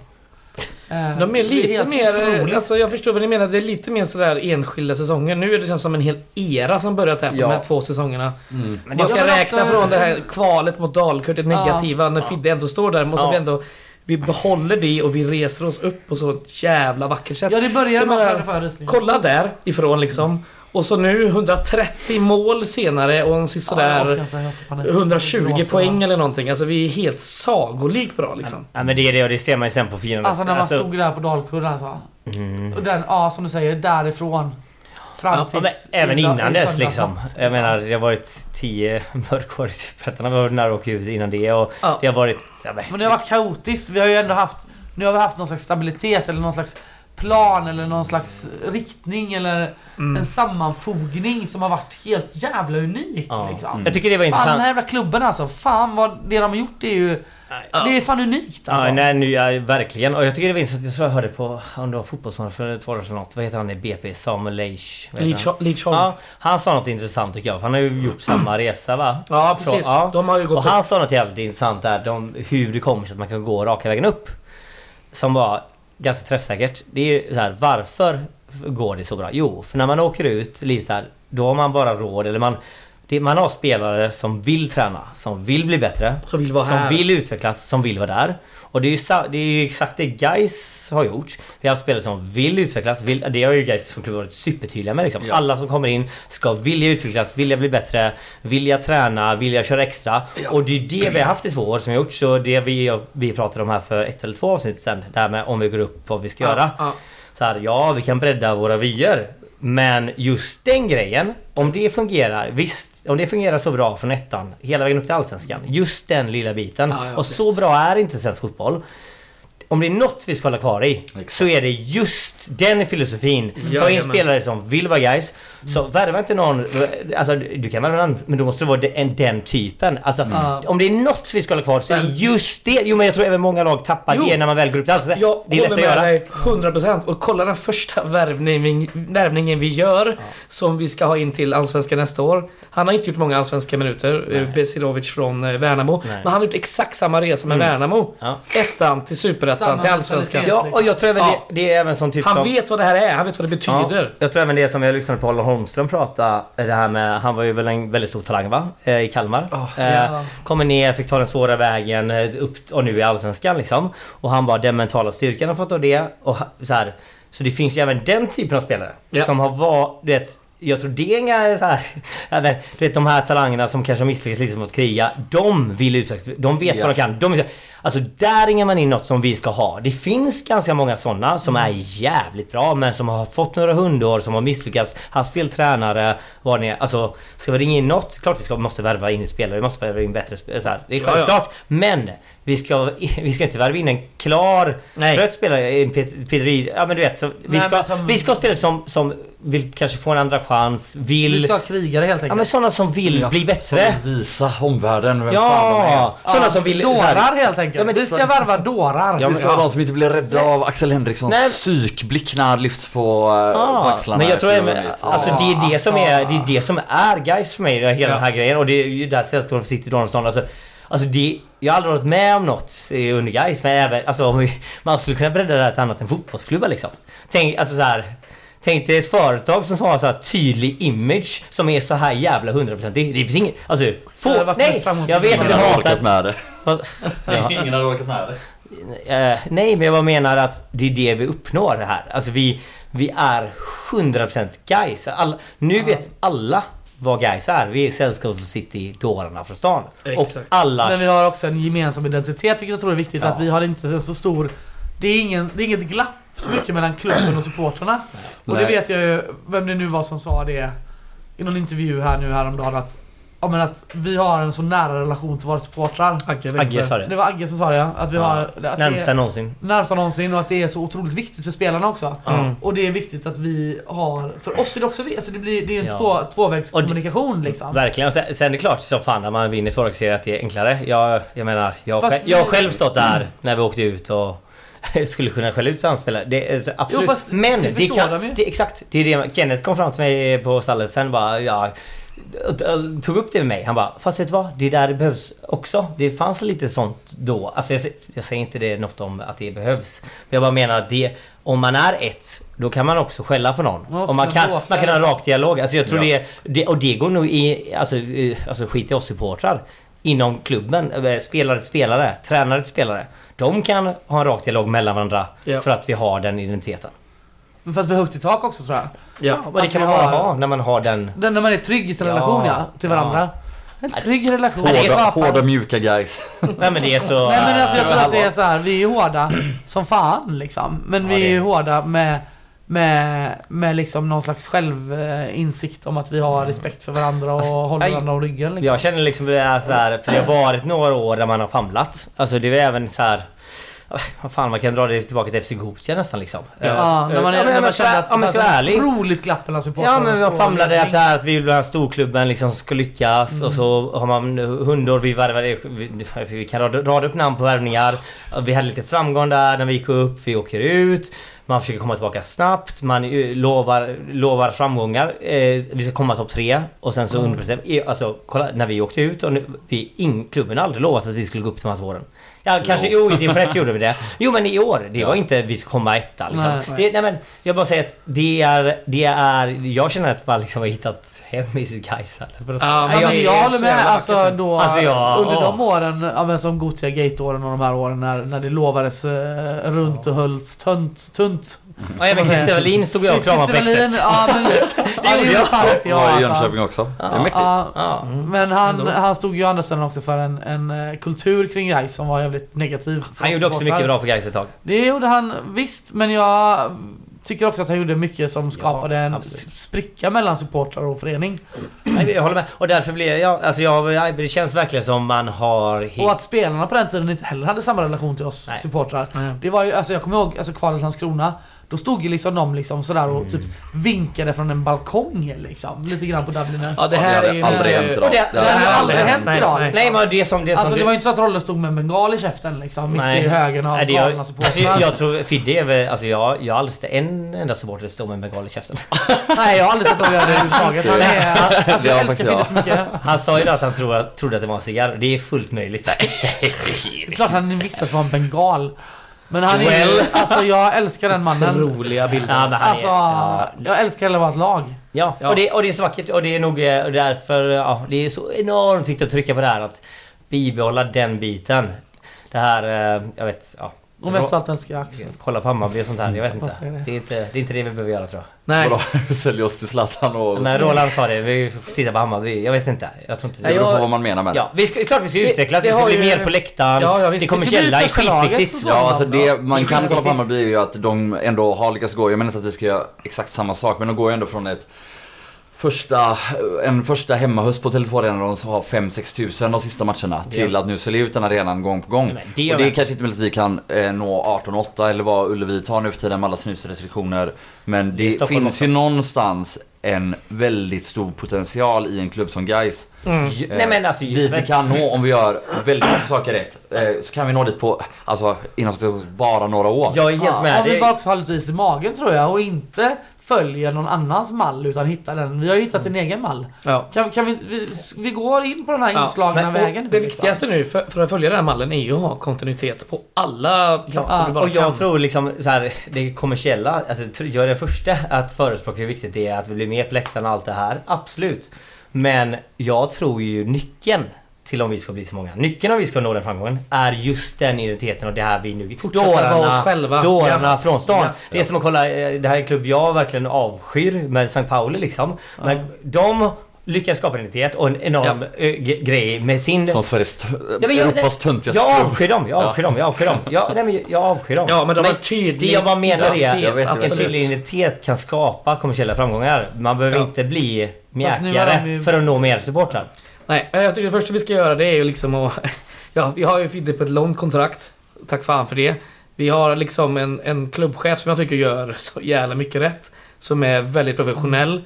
Eh, De är lite det helt mer... otroligt. Alltså, jag förstår vad ni menar. Det är lite mer sådär enskilda säsonger. Nu är det känns som en hel era som börjat här på Ja. de här två säsongerna. Mm. Men Man det, ska Ja, men räkna också- från det här kvalet mot Dalkurd, det Ja. negativa, när Fidde ändå står där. Måste Ja. vi ändå... Vi behåller det och vi reser oss upp på så ett jävla vackert sätt. Ja det började Jag med menar, den föreställningen. Kolla där ifrån liksom. Och så nu 130 mål senare och en Ja, jag orkar sådär inte, jag får panik. 120 Gråter poäng bara. eller någonting. Alltså vi är helt sagolikt bra liksom. ja, men det är det och det ser man ju sen på firandet. Alltså när man stod där på Dalkurra alltså. Mm. Och den, ja som du säger, därifrån. Fram Ja, tills alltså. men även idag- innan i dess söndags liksom. natt, Jag menar det har varit 10 mörkår i Superettan. Vi har varit nära att åka ut innan det och Ja. det har varit... ja, men- Men det har varit kaotiskt. Vi har ju ändå haft... Nu har vi haft någon slags stabilitet eller någon slags plan eller någon slags riktning eller Mm. en sammanfogning som har varit helt jävla unik Ja. Mm. liksom. Jag tycker det var Fan den intressant. här jävla klubben alltså. Fan vad det de har gjort är ju... Det är fan unikt alltså. Ja, nej, nu, ja, verkligen. Och jag tycker det var intressant. Jag tror jag hörde på, om det var fotbollsmannen för ett par år sedan eller något. Vad heter han i BP? Samuel Leish? vad heter han? Leach- Leach Holm. Ja, han sa något intressant tycker jag. För han har ju gjort samma resa va? Ja precis, Så, ja. de har ju Och gått han sa något jävligt intressant där. De, hur det kommer sig att man kan gå raka vägen upp. Som var ganska träffsäkert. Det är ju så här, varför går det så bra? Jo, för när man åker ut lite så här, då har man bara råd eller man... Det, man har spelare som vill träna, som vill bli bättre. Som vill vara som här. vill utvecklas, som vill vara där. Och det är ju, sa- det är ju exakt det Gais har gjort. Vi har haft spelare som vill utvecklas. Vill, det har ju Gais som klubb varit supertydliga med liksom. Ja. Alla som kommer in ska vilja utvecklas, vilja bli bättre, vilja träna, vilja köra extra. Och det är ju det vi har haft i två år som vi har gjort. Så det vi, vi pratade om här för ett eller två avsnitt sen. Det här med om vi går upp, vad vi ska Ja, göra. ja. Så här, ja vi kan bredda våra vyer. Men just den grejen, om det fungerar, visst, om det fungerar så bra från ettan hela vägen upp till allsvenskan. Just den lilla biten. Ja, ja, och så visst. bra är inte svensk fotboll. Om det är något vi ska hålla kvar i Exakt. så är det just den filosofin. Ta in Jajamän. spelare som vill vara guys. Så Mm. värva inte någon... Alltså du kan värva någon men då måste det vara den, den typen. Alltså Ja. om det är något vi ska hålla kvar så är det just det. Jo men jag tror även många lag tappar Jo. det när man väl går upp till allsvenskan. Jag Det är lätt håller att med göra. dig 100% och kolla den första värvning, värvningen vi gör som vi ska ha in till Allsvenskan nästa år. Han har inte gjort många allsvenska minuter, eh, Besirovic från eh, Värnamo. Nej. Men han har gjort exakt samma resa med Mm. Värnamo. Ja. Ettan till Superettan Samma till Allsvenskan. mentalitet. Ja, och jag tror även Ja. det, det är även som typ Han som, vet vad det här är, han vet vad det Ja, betyder. jag tror även det som jag lyssnade på Olle Holmström prata, det här med, han var ju väl en väldigt stor talang va? Eh, I Kalmar. eh, ja. Kommer ner, fick ta den svåra vägen eh, upp och nu i Allsvenskan liksom. Och han bara, den mentala styrkan har fått av det. Och ha- så, här, så det finns ju även den typen av spelare. Ja. Som har varit, du vet. Jag tror det är inga så här, [LAUGHS] även, Du vet de här talangerna som kanske har misslyckats lite mot att kriga. De vill utvecklas. De vet Ja. vad de kan. De, alltså där ringer man in något som vi ska ha. Det finns ganska många sådana som är jävligt bra men som har fått några hundår, som har misslyckats, haft fel tränare, vad det är. Alltså ska vi ringa in något? Klart vi ska, måste värva in spelare, vi måste värva in bättre spelare. Så här, det är Ja, ja. självklart. Men vi ska, [LAUGHS] vi ska inte värva in en klar, Nej. trött spelare. En Pet- Pedri, ja men du vet. Så vi, Nej, ska, men som- vi ska ha spelare som, som vill kanske få en andra chans, Vi vill... ska ha krigare helt Ja men enkelt. sådana som vill Ja, bli som bättre. vill visa omvärlden vem fan de är. Ja! Sådana som vill... så här- Dårar helt enkelt. Ja, men vi så- ska värva dårar. Ja, Vi men- ska vara de som inte blir rädda av Axel Henrikssons Nej. psykblick när han lyfts på, eh, på Ja, axlarna. Ah. men jag tror efter även, Blåvitt. alltså det är det som är, det Alltså. är det som är guys för mig, hela den här grejen. Och det är ju där sällskapet försiktigt Donaldson. Alltså, alltså det, jag har aldrig varit med om något eh, under guys men även, alltså om vi, man skulle kunna bredda det här till annat än fotbollsklubbar liksom. Tänk, alltså så här, tänk dig ett företag som har så här tydlig image som är så här jävla hundraprocentig. Det finns inget, alltså få, Det hade varit nej! mest framgångsrikt. Jag vet att Ingen det hade hatar... orkat med det. Vad- Ingen hade orkat med det. Eh, nej, men jag bara menar att det är det vi uppnår här. Alltså vi, vi är 100% guys. All, nu vet alla vad guys är. Vi är sällskapet som sitter i dårarna från stan. Exakt. Och alla... Men vi har också en gemensam identitet vilket jag tror är viktigt Ja. att vi har inte en så stor... Det är, ingen, det är inget glapp så mycket mellan klubben och supportrarna. Och det Nej. vet jag ju, vem det nu var som sa det i någon intervju här nu häromdagen att, ja, men att vi har en så nära relation till våra supportrar. Agge Agge Wengberg. sa Det det. var Agge som sa det ja, att vi Ja. har... Att det Närmsta är någonsin. närmsta någonsin och att det är så otroligt viktigt för spelarna också. Mm. Och det är viktigt att vi har... För oss är det också det, alltså det, blir, det är en Ja. två, tvåvägskommunikation liksom. Verkligen. Och Sen, sen är det klart som fan när man vinner tvålagsserie att det är enklare. Jag, jag menar, jag, Fast själv, jag har vi- själv stått där när vi åkte ut och [LAUGHS] skulle kunna skälla ut samspelare. Det är så- absolut. Jo, fast Men det det, förstår kan... de ju. Det, exakt. Det är det Kenneth kom fram till mig på stallet sen bara ja, och- och Tog upp det med mig. Han bara Fast vet du vad? Det där det behövs också. Det fanns lite sånt då. Alltså jag, sä- jag säger inte det något om att det behövs. Men jag bara menar att det Om man är ett Då kan man också skälla på någon. Man måste och man kunna kan, bråka. man kan ha en rak dialog. Alltså jag tror Ja. det, det... Och det går nog i... Alltså, eh, alltså skit i oss supportrar. Inom klubben. eh, Spelare till spelare. Tränare till spelare. De kan ha en rak dialog mellan varandra. Ja. För att vi har den identiteten. Men för att vi har högt i tak också tror jag. Ja. Och det Att kan vi man bara har- ha när man har den... Den när man är trygg i sin Ja, relation ja, till ja. varandra. En trygg relation. det är Hårda, fan- hårda mjuka guys. Nej men det är så... Nej men alltså jag äh, tror att det är så här. vi är hårda som fan liksom. Men Ja, vi är det ju är- hårda med, med, med liksom någon slags självinsikt om att vi har respekt för varandra och Alltså, håller nej. varandra om ryggen liksom. Jag känner liksom det är så här, för det har varit några år där man har famlat. Alltså det är även så här. Vad fan man kan dra det tillbaka till FC Gothia nästan liksom. Ja. Ja, när man, är, Ja, men när om man jag ska- kände att om jag ska vara att- ärlig. otroligt glapp mellan Ja supportrarna. men och man så- famlade efter att vi vill bli den här storklubben liksom som ska lyckas och så har man hundår, vi värvade... Vi, vi kan rada, rada upp namn på värvningar. Vi hade lite framgång där när vi gick upp, vi åker ut. Man försöker komma tillbaka snabbt, man eh, lovar, lovar framgångar. Eh, vi ska komma topp tre och sen Mm. så underpresterar vi. Alltså kolla, när vi åkte ut och nu, vi, in, klubben har aldrig lovat att vi skulle gå upp de här två åren. Ja kanske, jo, i division 1 [LAUGHS] gjorde vi det. Jo men i år, det var inte vi ska komma etta liksom. Nej. Det, nej men, jag bara säger att det är, det är, jag känner att man liksom har hittat hem i sitt Gaisar. Ja, Ja, Jag men är jag så håller med. jävla Alltså, vackert. då, Alltså, ja, under de åh. åren, ja, men som Gothia Gate-åren och de här åren när, när det lovades eh, runt och hölls tunt. tunt. Och även Christer Wallin stod jag och kramade på Christer Wallin, exet. Ja, men, det gjorde jag. fan inte jag var i alltså. Jönköping också. Det är Ja. mäktigt. Ja, Ja. men han, Ändå. han stod ju å andra sidan också för en, en eh, kultur kring Gais som var jävligt negativ. för Han oss gjorde också supportrar. mycket bra för Gais ett tag. Det gjorde han visst, men jag Tycker också att han gjorde mycket som skapade en absolut. s- spricka mellan supportrar och förening. Nej, jag håller med. Och därför blir jag... Alltså jag, det känns verkligen som man har... Hit. Och att spelarna på den tiden inte heller hade samma relation till oss Nej. supportrar. Nej. Det var ju, alltså jag kommer ihåg alltså kvalet Landskrona. Då stod ju liksom de liksom sådär och typ vinkade från en balkong liksom. Lite grann på Dubliner. Ja, det Det här hade är ju... aldrig eh, och hänt idag. det- Det det hade hade aldrig hänt. hänt Nej, idag. nej. Nej men det är som... Det är som Alltså det du- var ju inte så att Rolle stod med en bengal i käften liksom. Mitt Nej. i högen av Nej, det galna jag, alltså, supportrar. jag tror Fidde är väl... Alltså jag, jag har aldrig sett en enda supporter stå med en bengal i käften. Nej jag har aldrig sett honom göra det överhuvudtaget. Han är... Alltså, Det har jag faktiskt älskar Fidde jag. så mycket. Han sa ju då att han trodde, trodde att det var en cigarr. Det är fullt möjligt. Det är klart han visste att det var en bengal. Men han är ju... Alltså jag älskar den mannen. Roliga bilder. Ja, men han är, Alltså, ja, jag älskar hela vårt lag. Ja, Ja. Och, det, och det är så vackert och det är nog eh, och därför ja, det är så enormt viktigt att trycka på det här att bibehålla den biten. Det här, eh, jag vet, ja. Och mest av allt älskar jag Axel. Kolla på Hammarby och sånt här, jag Mm, vet Vad säger det? inte. Det är inte det, är inte det vi behöver göra tror jag. Nej. Vadå? [LAUGHS] Sälja oss till Zlatan och... Men Roland sa det, vi får titta på Hammarby. Jag vet inte. Jag tror inte det. Det Nej, beror på jag- vad man menar med det. Ja, vi ska, klart vi ska Det- utvecklas, det vi ska har bli ju- mer på läktaren. Ja, ja, visst. det kommer Det blir källa, är största laget, skitviktigt. så- Ja, alltså det man Det är kan kolla på viktigt. Hammarby är ju att de ändå har lyckats gå, jag menar inte att vi ska göra exakt samma sak, men de går ju ändå från ett första, en första hemmahöst på Telefonarenan som har 5-6 tusen de sista matcherna till att nu sälja ut den arenan gång på gång. Nej, men det är och det är väl- kanske inte möjligt att vi kan eh, nå 18-8 eller vad Ullevi tar nu för tiden med alla snusrestriktioner. Men är det, Stockholm finns ju någonstans en väldigt stor potential i en klubb som Gais. Eh, Nej men alltså... Dit vi kan nå om vi gör väldigt mycket saker rätt. eh, Så kan vi nå dit på, alltså inom situationstecken, bara några år. Jag är helt med. Om vi Det, bara också har lite is i magen tror jag och inte följer någon annans mall utan hittar den. Vi har ju Mm. hittat en egen mall. Ja. Kan, kan vi, vi, vi går in på den här Ja, inslagna men- och vägen. nu, Det liksom. viktigaste nu för, för att följa den här mallen är ju att ha kontinuitet på alla platser Ja, du bara Och jag kan. tror liksom så här, det kommersiella, alltså, tr- jag är den första att förespråka hur viktigt det är att vi blir med på läktarna och allt det här. Absolut. Men jag tror ju nyckeln till om vi ska bli så många. Nyckeln om vi ska nå den framgången är just den identiteten och det här vi nu... Fortsätta vara oss själva. Dårarna Ja. från stan. Ja. Det är som att kolla, eh, det här är en klubb jag verkligen avskyr med St. Pauli liksom. Men de lyckas skapa en identitet och en enorm eh, g- grej med sin... Som Sveriges, t- Ja, men jag- Europas töntigaste Jag klubb. avskyr dem, jag avskyr dem, jag avskyr dem. Jag, nej, men jag avskyr dem. Ja, men de har tydlig Det jag bara menar är identitet, Jag vet, jag att en absolut. tydlig identitet kan skapa kommersiella framgångar. Man behöver Ja. inte bli Fast nu mjäkigare är de ju- för att nå mer supportrar. Nej, jag tycker det första vi ska göra det är ju liksom att... [LAUGHS] Ja, vi har ju Fidde på ett långt kontrakt. Tack fan för det. Vi har liksom en, en klubbchef som jag tycker gör [LAUGHS] så jävla mycket rätt. Som är väldigt professionell.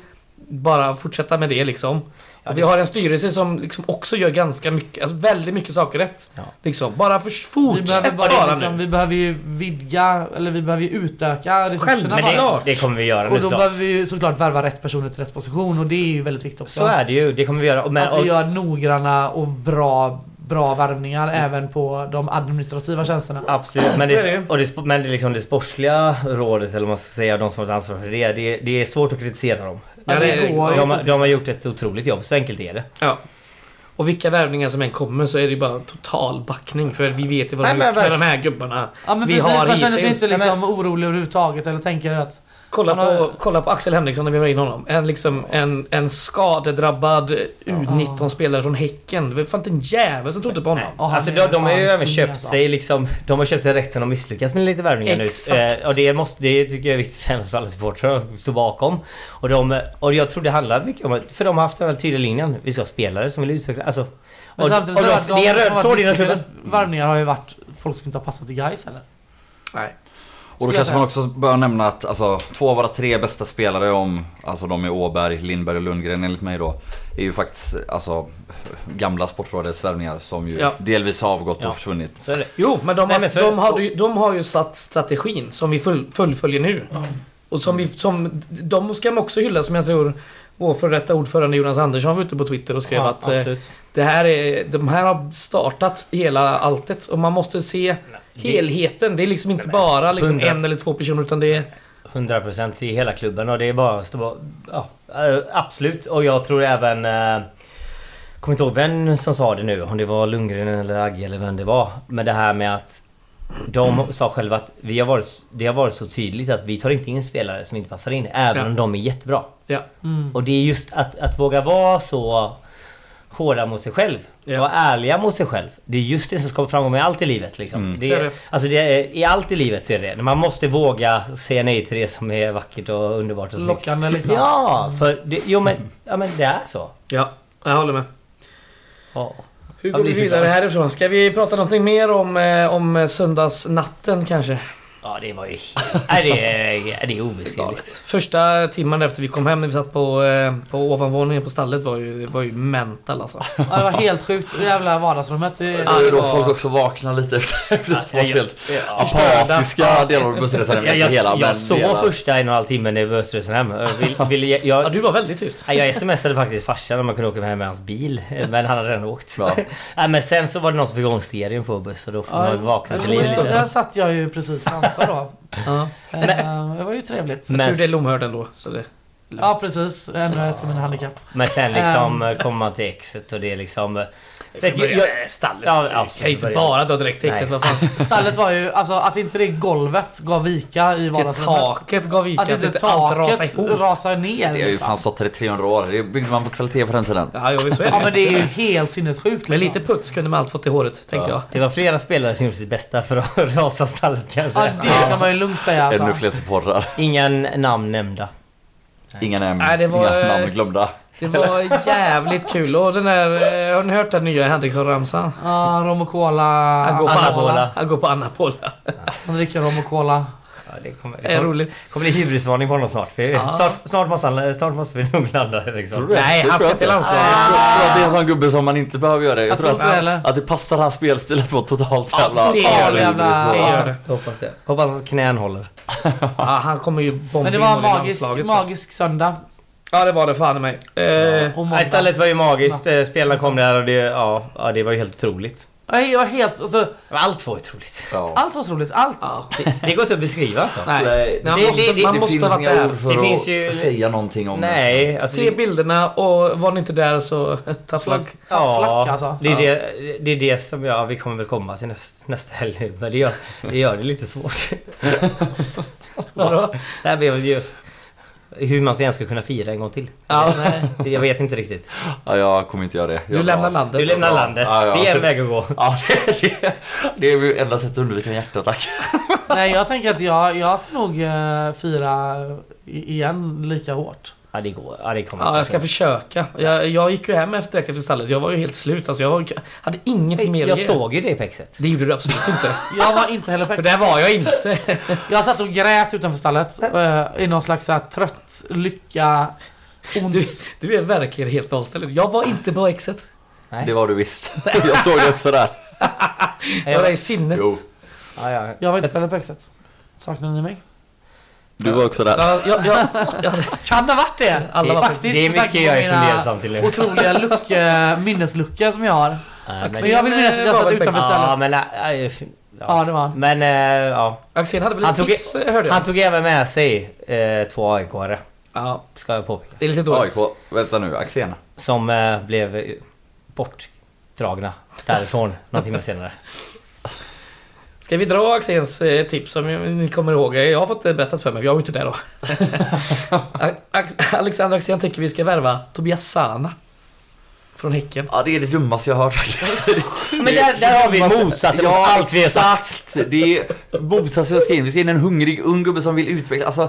Bara fortsätta med det liksom. Ja, Och vi det- har en styrelse som liksom också gör ganska mycket, alltså väldigt mycket saker rätt. Ja. Liksom, bara för, Vi fortsätt behöver, bara, bara, liksom, nu. vi behöver ju vidga, eller vi behöver ju utöka resurserna Men bara. det, det kommer vi göra nu Och då såklart. behöver vi ju såklart värva rätt personer till rätt position och det är ju väldigt viktigt också. Så är det ju. Det kommer vi göra. Och Men, att vi och, gör noggranna och bra, bra värvningar Mm. även på de administrativa tjänsterna. absolut. Men, Så är det ju. det, och det, sp- men det, är liksom det sportsliga rådet, eller vad man ska säga, de som har ett ansvar för det. Det, det är svårt att kritisera dem. Ja, det Alltså, det går De, ju har- inte. de har gjort ett otroligt jobb, så enkelt är det. Ja. Och vilka värvningar som än kommer så är det bara total backning för vi vet ju vad de Nej, har men gjort med de verkligen. här gubbarna. Ja, men vi precis, har man känner sig hittills. inte liksom orolig överhuvudtaget eller tänker att Kolla, Han har- på, kolla på Axel Henriksson när vi var in honom. En, liksom, en, en skadedrabbad U19-spelare från Häcken. Det fanns inte en jävel som trodde på honom. Ja, han alltså är de, de har ju fan även kung, köpt alltså. sig liksom, De har köpt sig rätten att misslyckas med lite värvningar nu. Exakt. Eh, och det, måste, det tycker jag är viktigt för för alla supportrar att stå bakom. Och, de, och jag tror det handlar mycket om att, För de har haft den här tydliga linjen. Vi ska ha spelare som vill utveckla... Alltså, Men och, och samtidigt så de- har de, det är en som har röd tråd inom klubben. misslyckades Värvningar har ju varit folk som inte har passat i guys eller? Nej. Och då jag kanske säga. man också bör nämna att alltså, två av våra tre bästa spelare om, alltså de är Åberg, Lindberg och Lundgren enligt mig då, är ju faktiskt alltså gamla Sportrådets värvningar som ju Ja. delvis har avgått Ja. och försvunnit. Så är det. Jo, men de, Nej, har, men så- de, har, ju- de har ju satt strategin som vi full, fullföljer nu. Och som vi, som, de ska man också hylla som jag tror vår före detta ordförande Jonas Andersson var ute på Twitter och skrev Ja, att eh, absolut. det här är, de här har startat hela alltet och man måste se helheten. Det är liksom inte bara liksom hundra. en eller två personer utan det är... 100% i hela klubben och det är bara att stå ja, eh, Absolut och jag tror även eh, Kommer inte ihåg vem som sa det nu om det var Lundgren eller Agge eller vem det var Men det här med att De sa själva att vi har varit, det har varit så tydligt att vi tar inte in spelare som inte passar in även Ja. om de är jättebra Ja. Och det är just att, att våga vara så hårda mot sig själv. Ja. Vara ärliga mot sig själv. Det är just det som skapar framgång med allt i livet. Liksom. Mm. Det Så är är, det. alltså det är, I allt i livet så är det Man måste våga säga nej till det som är vackert och underbart och snyggt. Lockande liksom. Ja, för det, jo, men, ja, men det är så. Ja, jag håller med. Ja. Hur Jag går blir vi så vidare glad. härifrån? Ska vi prata någonting mer om, eh, om söndagsnatten kanske? Ja, det var ju... [LAUGHS] Nej, det är, det är obeskrivligt. Första timmen efter vi kom hem när vi satt på, eh, på ovanvåningen på stallet var ju, var ju mental alltså. Ja, det var helt sjukt. Det jävla vardagsrummet. Det, Det är ju då var- folk också vaknar lite efter efter att ha varit jag- helt Ja. apatiska delar av bussresan. Jag, jag, hela, men jag sov delar. första en och en halv timme när bussresan hem. Jag, vill, vill, jag, Ja, jag, du var väldigt tyst. Nej, jag smsade faktiskt farsan om jag kunde åka hem med hans [LAUGHS] bil. Men han hade redan åkt. [LAUGHS] Ja. Nej, men sen så var det någon som fick igång stereon på buss och då fick man väl vakna jag till tror liv. det- Där satt jag ju precis framför då. Ja. Eh, Det var ju trevligt. Jag Men- tror det är Lomhörd ändå. Så det. Ja precis, ännu ett av mina handikapp. Men sen liksom kommer man till exet och det är liksom... Vet, jag, jag, stallet. Ja, ja, Jag kan ju inte börja. bara dra direkt till Exet, Nej. vad fan. Stallet var ju, alltså att inte det golvet gav vika i Till vardagsrummet. taket gav vika, Att att inte inte allt rasade taket ihop. rasar ner. Det har ju liksom. fan stått där i 300 år. Det byggde man på kvalitet på den tiden. Ja, jo, så är det. Ja men det är ju helt sinnessjukt Med liksom. lite puts kunde man allt fått i håret, tänkte jag. Det var flera spelare som gjorde sitt bästa för att [LAUGHS] rasa stallet kan jag Ja säga. det kan man ju lugnt säga alltså. Ännu fler supportrar. Inga namn nämnda. Inga namn, Nej, det var, inga eh, namn glömda. Det var jävligt kul. Och den där, eh, har ni hört den nya Henriksson-ramsan? Ja, rom och cola. Han går på anabola. anabola. Han går på anabola. Han dricker rom och cola. Ja, det kommer, det Det är kommer, roligt. kommer bli hybrisvarning på honom snart. För snart, snart, måste han, snart måste vi nog landa liksom. Nej, han ska till landslaget. Alltså- Jag tror, tror att det är en sån gubbe som man inte behöver göra det. Jag, Jag tror tror inte det att, heller. att det passar hans spelstil att vara totalt jävla... det gör det. jävla- Det gör det. Jag hoppas det. Hoppas hans knän håller. Ja, han kommer ju bomba Men det in var mål en i magisk, landslaget, så- magisk söndag. Ja, det var det fan i mig. Eh, Och måndag. Nej, stallet var ju magiskt. Eh, Spelarna kom där och det, ja, ja, det var ju helt otroligt. Nej, jag var helt... Alltså, Men Allt var otroligt. Ja. allt var så roligt. Allt. Det, det går inte att beskriva alltså. Nej, Nej, man det- måste, det- det man måste finns ha varit inga där. ord för Det att finns ju- säga någonting om Nej, alltså... Se bilderna och var ni inte där så [LAUGHS] ta Slag, flagg. flack alltså. det är, det, det är det som jag... Vi kommer väl komma till näst, nästa helg nu. Men det gör det, gör det lite svårt. Vadå? Det här blir ju... Hur man ens ska kunna fira en gång till. Ja, nej. Jag vet inte riktigt. det. Ja, jag kommer inte göra det. Du Jag lämnar bara- landet. Du lämnar Ja, landet. ja, ja. Det är en väg att gå. Ja, [LAUGHS] det, det, det är ju enda sättet att undvika en hjärtattack. Nej, jag tänker att jag, jag ska nog eh, fira i- igen lika hårt. Ja, det går. Ja, det kommer Ja, inte jag ska att- försöka. Jag, jag gick ju hem efter, direkt efter stallet. Jag var ju helt slut. Alltså, jag var, hade inget mer Jag att ge. såg ju det i pexet. Det gjorde du absolut inte. Jag var inte heller För perfekt. där var jag inte. Jag satt och grät utanför stallet eh, i någon slags så här, trött lycka. Ont. Du, du är verkligen helt nollställd. Jag var inte på exet. Det var du visst. Jag såg det [LAUGHS] också där. Jag var i sinnet. Jo, Ja, ja. Jag var inte heller på exet. Saknar ni mig? du var också där. Ja, jag, jag, Kan ha varit det! Alla var- Faktiskt, Det är med tanke mycket på jag är mina fundersam till. nu. Otroliga lucka, minnesluckor som jag har. Ja, men- Men jag vill minnas att jag var satt väl utanför bäst. Ja, stället. men... äh, äh, f- Ja, det var han. Men eh, ja. Axén hade väl Han lite tog- tips, eh, hörde jag. Han tog även med sig eh, två AIK-are. Ja, Ska jag påpeka. det är lite dåligt. AIK, vänta nu, Axén. Som eh, blev eh, bortdragna därifrån någon timme senare. Ska vi dra Axéns eh, tips som ni kommer ihåg? Jag har fått det berättat för mig, för jag var ju inte där då. Ax- Alexander Axén tycker vi ska värva Tobias Sana. Från Häcken. Ja, det är det dummaste jag har hört faktiskt. Det- Men där, där har vi motsatsen mot Ja, allt vi har sagt. exakt. Det är motsatsen jag ska in. Vi ska in en hungrig ung gubbe som vill utveckla. Alltså,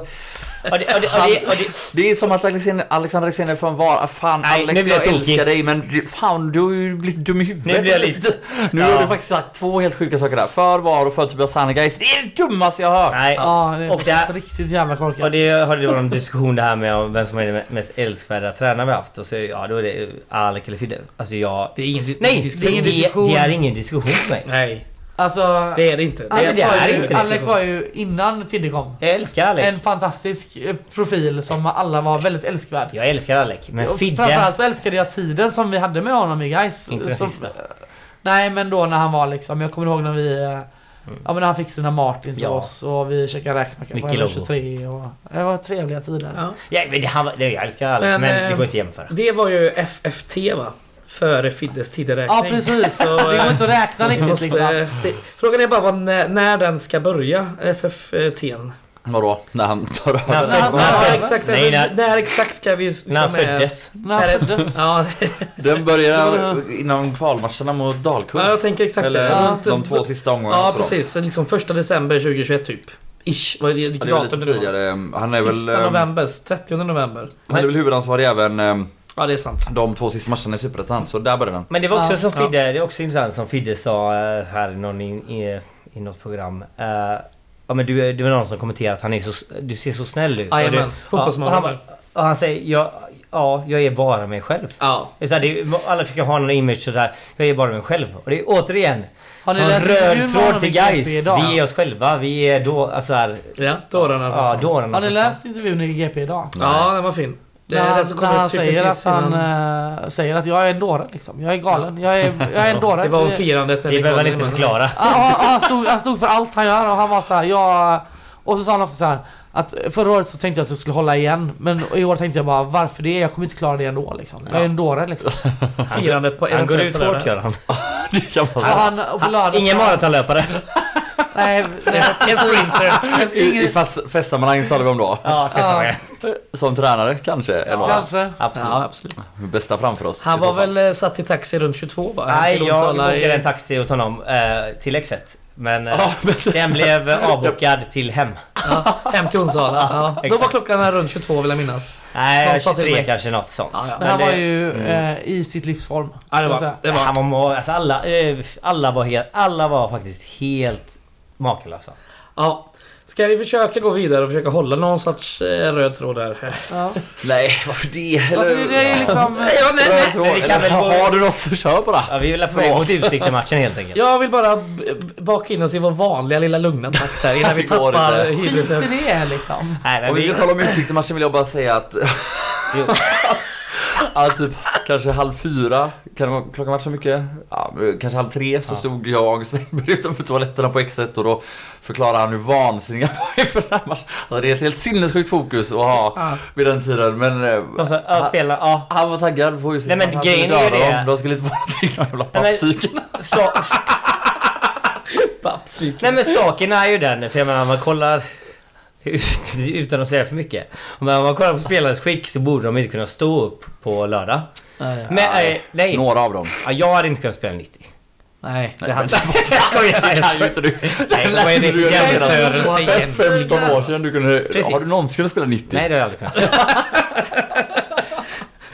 Och det, och det, och det, och det, det är som att Alexander- Alexander Axén är från var... Fan Nej, Alex, nu blir jag jag tokig. älskar dig men du- fan du har ju blivit dum i huvudet. Nu blir jag lite- [LAUGHS] Nu Ja. har du faktiskt sagt två helt sjuka saker där. För var och för Tobias Sannegeist. Det är det dummaste jag har hört. nej. Ja, det är Och det här- faktiskt riktigt jävla Och korkat. det har det varit en diskussion det här med om vem som är den mest älskvärda tränare vi har haft. Och så ja, då är det Alec eller Fidde. Alltså jag... Det är ingen Nej! Det, diskussion. är diskussion. det är ingen diskussion för mig. Nej, Alltså, det är det inte. Det är, Alec, det var är ju, inte Alec diskussion. var ju innan Fidde kom. Jag älskar Alec. En fantastisk eh, profil som alla var väldigt älskvärd. Jag älskar Alec. Men Och Fidde... Framförallt så älskade jag tiden som vi hade med honom i guys. Inte den som, sista. Nej men då när han var liksom, jag kommer ihåg när vi... eh, Mm. Ja men när han fick sina Martins Ja. av oss och vi käkade räkmacka på Mycket Hello logo. 23 och... Det var trevliga tider. Ja. Ja, men det, han, var- det, jag älskar Alec Men, men, eh, det går inte att jämföra. det var ju FFT va? Före Fiddes tideräkning. Ja precis, eh, Mm. Så, eh, [LAUGHS] det går inte att räkna Vi riktigt måste, liksom. det, frågan är bara vad, när, när den ska börja, FFT. n. Vadå? När han tar över? han När, föddes- han- när han när, föddes- exakt, nej, när- när exakt ska vi... Liksom, När han eh, föddes. När han Är det- föddes. Ja, Den börjar innan kvalmatcherna mot ja, Dalkurd. jag tänker exakt Eller det. Runt- typ. de två sista omgångarna. Ja, så då. precis. Så Liksom första december 2021 typ. Ish. Vad är det- Ja, Vilket Det är väl datum lite det nu var? tidigare. Han är väl... Sista ehm, november. 30 november. Han är väl huvudansvarig även ehm, Ja, det är sant. de två sista matcherna i Superettan. Så där börjar den. Men det var också Ja. som Ja. Fidde, det är också intressant som Fidde sa eh, här i någon in, i, i något program. Eh, ja men du, är- det var någon som kommenterade att han är så, du ser så snäll ut. Och Jajamän. du- Fotbollsmorgon. Ja, och han, och han säger jag, ja, jag är bara mig själv. Ja. Det är så här, det, är- alla försöker ha någon image sådär. Jag är bara mig själv. Och det är återigen Har som en intervjun röd med honom tråd till i GP guys. Vi är oss själva. Vi är då, alltså här, Ja, dårarna. ja, dårarna. Har ni för läst intervjun i GP idag? Ja, den var fin. Det när är han, den som när kommer han upp typ precis säger att han innan. eh, säger att jag är en dåre liksom. Jag är galen. Jag är, jag är en dåre. Det var firandet. när fan. Det vi behöver man kom inte in. förklara. Ja, han, han, stod, han stod för allt han gör och han var så här, jag... Och så sa han också så här att förra året så tänkte jag att jag skulle hålla igen men i år tänkte jag bara varför det? Jag kommer inte klara det ändå liksom. Jag är en dåre liksom. Firandet på Han går eventuellt ut på hårt lördag. gör han. [LAUGHS] Det kan Och vara han, och på lördag, Ingen maratonlöpare. Nej, nej. [LAUGHS] En sprinter. så. I, i fast, festsammanhang talar vi om då. [LAUGHS] Ja, Ja. festsångare. Som tränare kanske. eller vad? Kanske. Absolut. Ja, absolut. Bästa framför oss. Han i så var fall. väl eh, satt i taxi runt 22 va? Hem Nej, till jag Onsala i- åker en taxi åt honom eh, till X1. Men eh, Ja, men- den blev eh, avbokad till hem. Hem till Onsala. Ja. Då var exakt. klockan runt 22 vill jag minnas. Nej, De sa till 23 mig- kanske något sånt. Ja, ja. Men han det- var ju eh, i sitt livsform. Mm. Ja, det kan var, jag säga. det var. Han var, må- alltså alla, eh, alla, var helt, alla var faktiskt helt makalösa. Ja. Ska vi försöka gå vidare och försöka hålla någon sorts eh, röd tråd där? Ja. Nej, varför det? Varför är det [LAUGHS] [LAUGHS] liksom... Ja, nej, nej. Men vi kan väl gå- Har du något så kör bara. Ja, vi är väl på väg mot Utsikten-matchen helt enkelt. Jag vill bara b- b- baka in oss i vår vanliga lilla lugna takt här innan vi Det går tappar inte. Skit i [LAUGHS] hybrisen. det liksom. Nej, men Om vi vi, ska tala om Utsikten-matchen vill jag bara [LAUGHS] säga att... [LAUGHS] att typ kanske halv fyra, kan det vara klockan vart så mycket? Ja, men kanske halv tre så stod jag och Sven [LAUGHS] utanför toaletterna på X1 och då förklarade han hur vansinniga var inför den här matchen. Alltså, det är ett helt sinnessjukt fokus att ha vid den tiden men... eh, de sa, ja, spela, ja. Han var taggad på Utsikten. Nej, men Han skulle grejen är ju döda det- dem. De skulle inte vara [LAUGHS] någonting de jävla men- pappsyken. Så, Nej men saken är ju den, för jag menar om man kollar utan att säga för mycket. Men om man kollar på spelarens skick så borde de inte kunna stå upp på lördag. Nej. Men eh, nej, Några av dem. ja, jag hade inte kunnat spela 90. Nej, det Nej, hade [LAUGHS] Jag skojar! Jag skojar. inte du. Nej, [LAUGHS] vad är det för Du är redan- jämförelse Sen egentligen? 15 år sedan du kunde... Precis. Har du någonsin spelat 90? Nej det har jag aldrig kunnat.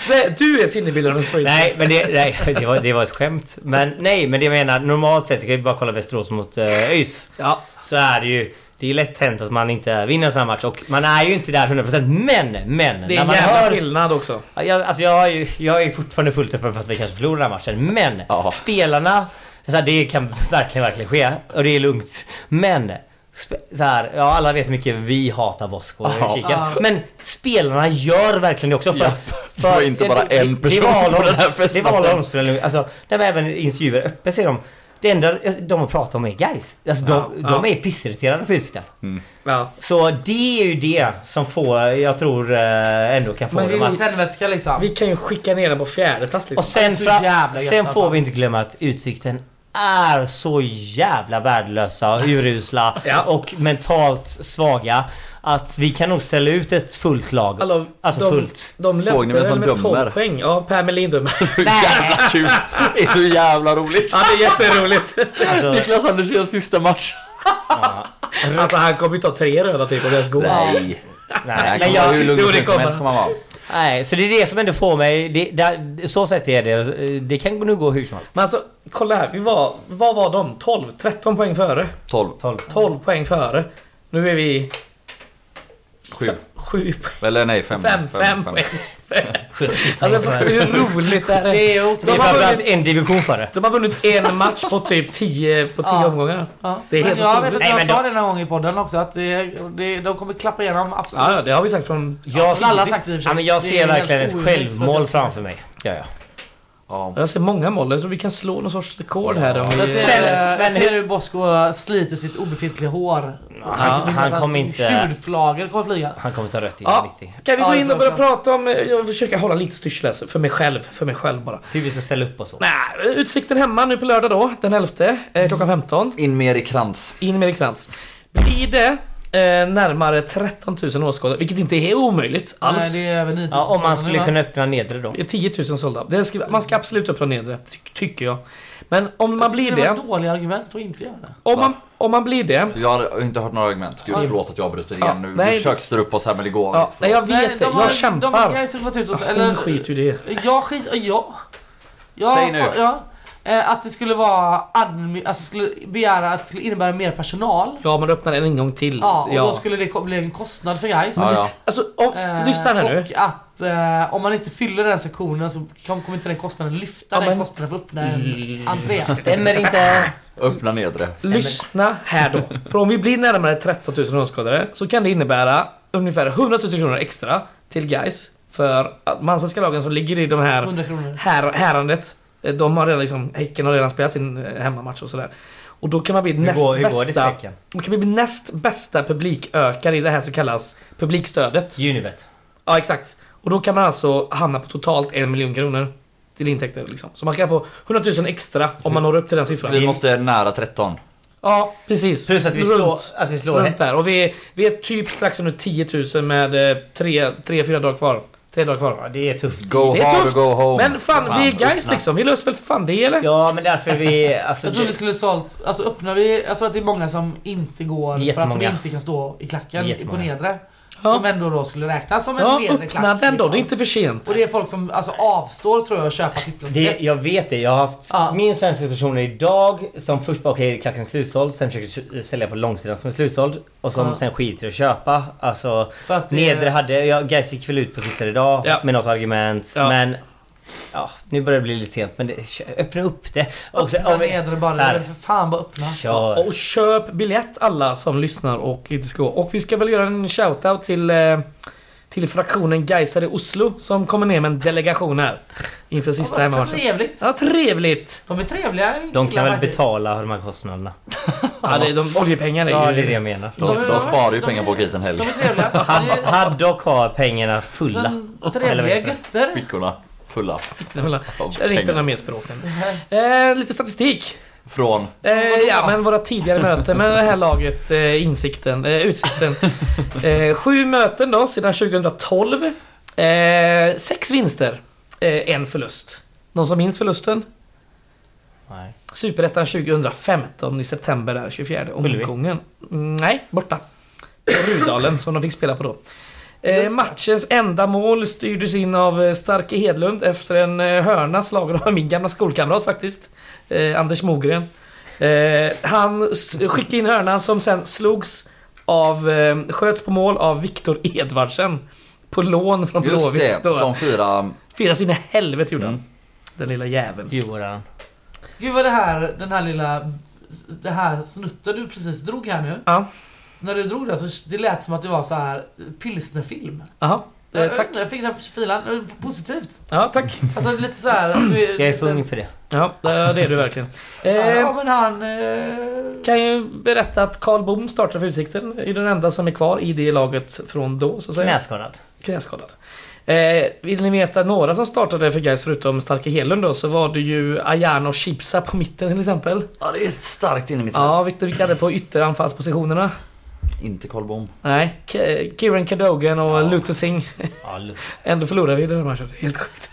Det- Du är sinnebilden av en sprinter. Nej men det, nej, det, var, det var ett skämt. Men nej men det jag menar normalt sett, jag kan ju bara kolla Västerås mot uh, ÖIS. Ja. Så är det ju. Det är lätt hänt att man inte vinner en sån här match och man är ju inte där 100% men, men! Det är när en man jävla hör skillnad också. Ja, Jag, alltså jag, är ju- jag är fortfarande fullt öppen för att vi kanske förlorar den här matchen. Men Ja. spelarna, så här, det kan verkligen, verkligen ske. Och det är lugnt. Men spe- så här, ja, alla vet hur mycket vi hatar Bosko och Ja. Kikan. Ja. Men spelarna gör verkligen det också. För, Ja. Det var inte bara en person det var på den här Det var festnatten. alla omställningar. Alltså, nej, men även i intervjuer öppet säger de. Det enda de har pratat om är guys. Alltså, de, Ja. de Ja. är pissirriterade på Utsikten. Ja. Så det är ju det som får, jag tror eh, ändå kan få Men vi dem att- vill- Tändvätska liksom. Vi kan ju skicka ner den på fjärde plats Och liksom. sen, Alltså, Så fra, jävla gött, sen alltså. får vi inte glömma att Utsikten är så jävla värdelösa och [LAUGHS] urusla Ja. och mentalt svaga att vi kan nog ställa ut ett fullt lag. Alla- alltså de- fullt. De Såg ni ledde vem väl som med 12 dömer? poäng. Ja, Per Melin dömer. Så jävla kul! Det är så jävla roligt! Ja, det är [LAUGHS] jätteroligt. Alltså, Niklas Andersens sista match! [LAUGHS] Alltså han kommer ju ta tre röda typ på deras goal. Nej! nej, men men jag, hur lugn jo, och det fin som kommer. helst kommer han vara. nej, så det är det som ändå får mig... Det, där, så sett är det. Det kan nog gå hur som helst. Men alltså, kolla här. Vi var, vad var de? 12? 13 poäng före? 12, 12. Mm. 12 poäng före. Nu är vi 7. 7 poäng. Eller nej, 5. 5, 5 poäng. [LAUGHS] Fem. Alltså förstår du hur roligt det här är? Det är Det är De har framförallt vunnit- en division före. De har vunnit en match på typ 10 på 10 Ja. omgångar. Ja. Det är Men helt jag otroligt. vet att Nej, jag men sa då- det någon gång i podden också att det, det, de kommer klappa igenom absolut. Ja, ja, det har vi sagt från... Jag, men alla har sagt det i och för sig. ja, men jag Det är ser helt verkligen ett orimligt för att självmål jag- framför mig. Ja, ja. Ja. Jag ser många mål. Jag tror vi kan slå någon sorts rekord här. Om Jag vi... ser, Sen- jag men- ser hur Bosko sliter sitt obefintliga hår. Han, han kommer inte... Hudflagor kommer flyga. Han kommer ta rött i Ja. 90. Kan vi Ja, gå det in tror och börja jag prata om... Jag försöker hålla lite styrsel här, så för mig själv. För mig själv bara. Hur vi ska ställa upp och så. Nej, utsikten hemma nu på lördag då, den 11 eh, klockan 15. In mer i krans. In med er krans. Blir det eh, närmare 13 000 åskådare, vilket inte är omöjligt alls. Nej, det är över 9000 Ja, om man sådana skulle nu, kunna öppna nedre då. Det är 10 000 sålda. Det ska, man ska absolut upp från nedre, ty tycker jag. Men om va? man blir Jag tycker det var det... ett dåligt argument att inte göra det. Om man, om man blir det... Jag har inte hört några argument. Gud förlåt att jag avbryter Ja, igen nu. nej, vi försöker störa upp oss här men det går Ja, inte. nej, jag Nej, vet det. de har- Jag De kämpar. guys som gått ut och... Hon Eller, skiter ju i det. Jag skit... Ja. ja Säg nu. fa- Ja. Eh, Att det skulle vara admin, alltså skulle begära att det skulle innebära mer personal. Ja, men öppnar en ingång till. Ja, och då Ja. skulle det ko- bli en kostnad för guys. Ja, ja. Alltså, om, Eh, lyssna här nu. Och att eh, om man inte fyller den sektionen så kom- kommer inte den kostnaden lyfta Ja, den men- Mm. kostnaden för att öppna en entré. Stämmer inte. Öppna nedre. Lyssna här då. För om vi blir närmare 13 000 åskådare så kan det innebära ungefär 100 000 kronor extra till guys för att manchester lagen som ligger i de här 100 kronor. här, härandet. eh, De har redan liksom, Häcken har redan spelat sin eh, hemmamatch och sådär. Och då kan man bli Hur näst går, hur går det för bästa. Häcken? Då kan vi bli näst bästa publikökare i det här som kallas publikstödet. Unibet. Ja exakt. Och då kan man alltså hamna på totalt en miljon kronor. Till intäkter liksom. Så man kan få 100 000 extra om man når upp till den siffran. Vi måste nära 13. Ja, precis. Plus att vi Runt. slår... Att vi slår Runt där. Och vi är, vi är typ strax under 10 000 med eh, 3-4 dagar kvar. Tre dagar ja, kvar. det är tufft. Go Det är hard or go tufft! home. Men fan, Fan, vi är guys öppna. liksom. Vi löser väl för fan det eller? Ja, men därför vi... Alltså, Jag tror vi skulle sålt, alltså öppnar vi, jag tror att det är många som inte går Det är för att de jättemånga. inte kan stå i Det klacken är på jättemånga. nedre. Ja. Som ändå då skulle räknas som en Ja, nedre klack. öppna den då. liksom. Det är inte för sent. Och det är folk som alltså, avstår tror jag att köpa Det, tipplatbiljett. jag vet det. Jag har haft Ja. minst fem personer idag som först bara okej, klacken är slutsåld. Sen försöker sälja på långsidan som är slutsåld. Och som Ja. sen skiter i att köpa. Alltså, För att det- nedre hade... Ja, guys gick väl ut på Twitter idag Ja. med något argument. Ja. Men... Ja, nu börjar det bli lite sent. Men det, kö- öppna upp det. Och sen- Öppna om vi- nedre bara, så här. för fan bara öppna. Kör. Och köp biljett alla som lyssnar och inte ska gå. Och vi ska väl göra en shoutout till, eh, till fraktionen Gaisare i Oslo som kommer ner med en delegation här. Inför Ja, sista vad hemmamatchen. trevligt! Ja, trevligt! De är trevliga De killar kan väl faktiskt. betala de här kostnaderna. Ja, det, de, oljepengar är ju... Ja, det är [LAUGHS] det jag menar. De, de sparar ju pengar på att åka hit en De helg. är trevliga. [LAUGHS] Han, De är- Haddock har pengarna fulla. Men Eller vad Trevliga heter det? götter. Fickorna fulla. Nej, hålla. Av Kör inte pengar. några mer språk nu. eh, Lite statistik. Från... Eh, ja, men våra tidigare möten med det här laget, eh, insikten, eh, utsikten. Eh, sju möten då sedan 2012. Eh, sex vinster. Eh, en förlust. Någon som minns förlusten? Nej. Superettan 2015 i september där, 24 Ullevi. omgången. Mm, nej, borta. Rudalen som de fick spela på då. Eh, matchens enda mål styrdes in av eh, Starke Hedlund efter en eh, hörna slagen av min gamla skolkamrat faktiskt. Eh, Anders Mogren. Eh, han s- skickade in hörnan som sen slogs av, eh, sköts på mål av Viktor Edvardsen. På lån från Just Blåvitt det, då. som fyra... Fyra sina helvete gjorde han. Mm. Den lilla jäveln. Djurgården. Gud vad det här, den här lilla... Det här snutten du precis drog här nu. Ja, När du drog den så det lät som att det var så här pilsnerfilm. aha. Eh, Jag- tack. Jag fick den filen. Positivt. Ja, tack. Alltså lite så här. att du Jag är för ung för det. Ja, det är du verkligen. Ja Eh, men han... eh, kan ju berätta att Karl Boom startar för Utsikten. Är den enda som är kvar i det laget från då, så att säga. Knäskadad. Knäskadad. Eh, vill ni veta några som startade för Gais förutom Starke Hedlund då, så var det ju Ayano Chipsa på mitten till exempel. Ja, det är starkt in i mitt Ja, huvud. Viktor Wick hade på ytteranfallspositionerna. Inte Carl Bohm. Nej, K- Kieran Cadogan och Ja. Luther Singh. Ja, lu- Ändå förlorar vi den här matchen. Helt sjukt.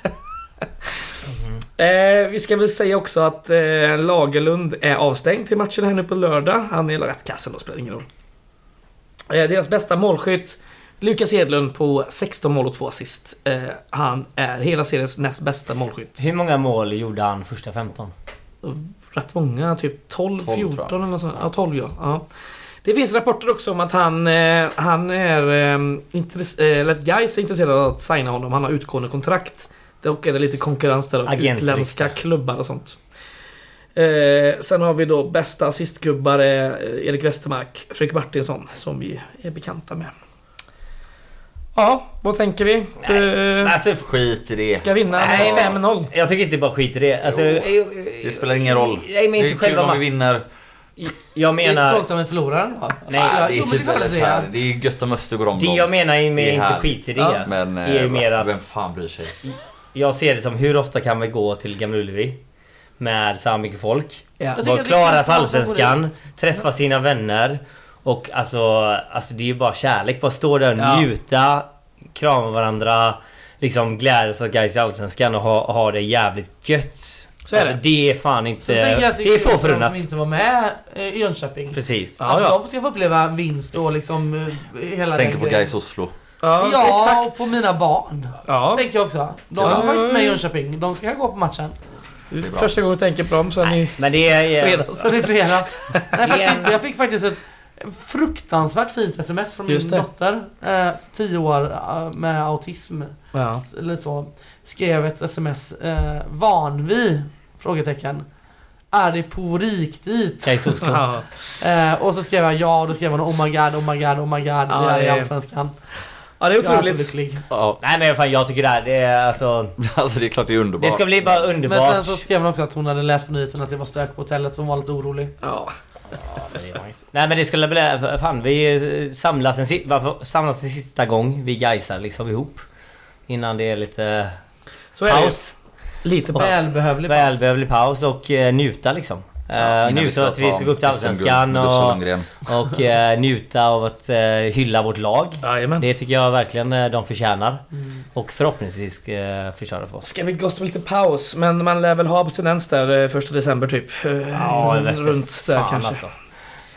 Eh, vi ska väl säga också att eh, Lagerlund är avstängd till matchen här nu på lördag. Han är rätt kassen då, spelar ingen roll. Eh, deras bästa målskytt, Lukas Hedlund på 16 mål och 2 assist. Eh, han är hela seriens näst bästa målskytt. Hur många mål gjorde han första 15? Rätt många, typ 12, 12, tror 14 jag. eller något sånt. Ja, 12 ja. ja. Det finns rapporter också om att han, eh, han är... Eh, intress- eh, eller att Gais är intresserad av att signa honom. Han har utgående kontrakt. Dock är det lite konkurrens där av Agentryck, utländska ja. klubbar och sånt. Eh, sen har vi då bästa assistgubbar är eh, Erik Westermark, Fredrik Martinsson som vi är bekanta med. Ja, vad tänker vi? Mm. Eh, Alltså, f- Skit i det. ska vinna Nej, med 5-0. jag tycker inte bara skit i det. Alltså, Det spelar ingen roll. Nej, men inte det är kul själva om vi matchen. vinner. Jag Det är menar... tråkigt om en förlorare då. Nej, Ja, det, är jo, men det är klart väl att så det här. är. det är gött om Öster går om Det dem. jag menar är Det med är inte härligt. skit i Ja, det. Men det är ju eh, mer vem att fan bryr sig? jag ser det som hur ofta kan vi gå till Gamla Ullevi? Med så här mycket folk. Ja. Jag tycker Vara att det är kul klara att för folk som går Allsvenskan. dit. Träffa sina vänner. Och alltså, alltså det är ju bara kärlek. Bara stå där och Ja. njuta, krama varandra. Liksom glädjas att guys i Allsvenskan och ha, ha det jävligt gött. Så är alltså, det. det är fan inte... Sen tänker jag att Det är få kul för de förunnat. som inte var med eh, i Jönköping. Precis. Ja, att ja. de ska få uppleva vinst och liksom eh, hela Tänker den på grejen. Gais Oslo. Ja, Ja, exakt. och på mina barn. Ja, Tänker jag också. De Ja. var faktiskt med i Jönköping. De ska gå på matchen. det är första gången du tänker på dem sen i Men det är... fredags. Sen [LAUGHS] i fredags. Nej, faktiskt Igen. inte. Jag fick faktiskt ett fruktansvärt fint sms från Just min det. dotter. Eh, 10 år eh, med autism. Ja. Eller så. Skrev ett sms. Eh, vanvi? Frågetecken. Är det på rikt dit? Gais Oslo. Ja. Eh, och så skrev jag ja och då skrev hon oh my god, oh my god, oh my god. vi är det i är- Allsvenskan. ja, det är Jag är så otroligt. lycklig. Ja, Nej men fan jag tycker det här, det är alltså... [LAUGHS] alltså det är klart det är underbart. Det ska bli bara Men underbart. sen så skrev hon också att hon hade läst på nyheten att det var stök på hotellet som var lite orolig. Ja. Nej men det skulle bli... Fan vi eh, samlas en, si- varför- samlas en sista gång. Vi gaisar liksom ihop. Innan det är lite Så är det ju. paus. Lite paus. Välbehövlig paus. Välbehövlig paus och eh, njuta liksom. Eh, Innan njuta av att vi ta ska gå upp till SM-guld Allsvenskan med Gustav och, Lundgren. och eh, njuta av att eh, hylla vårt lag. Jajamän. Det tycker jag verkligen eh, de förtjänar. Och förhoppningsvis eh, förtjänar för oss. Ska vi gott med lite paus? Men man lär väl ha abstinens där eh, första december typ. Eh, Ja, jag vet inte. Runt där Fan, kanske. alltså.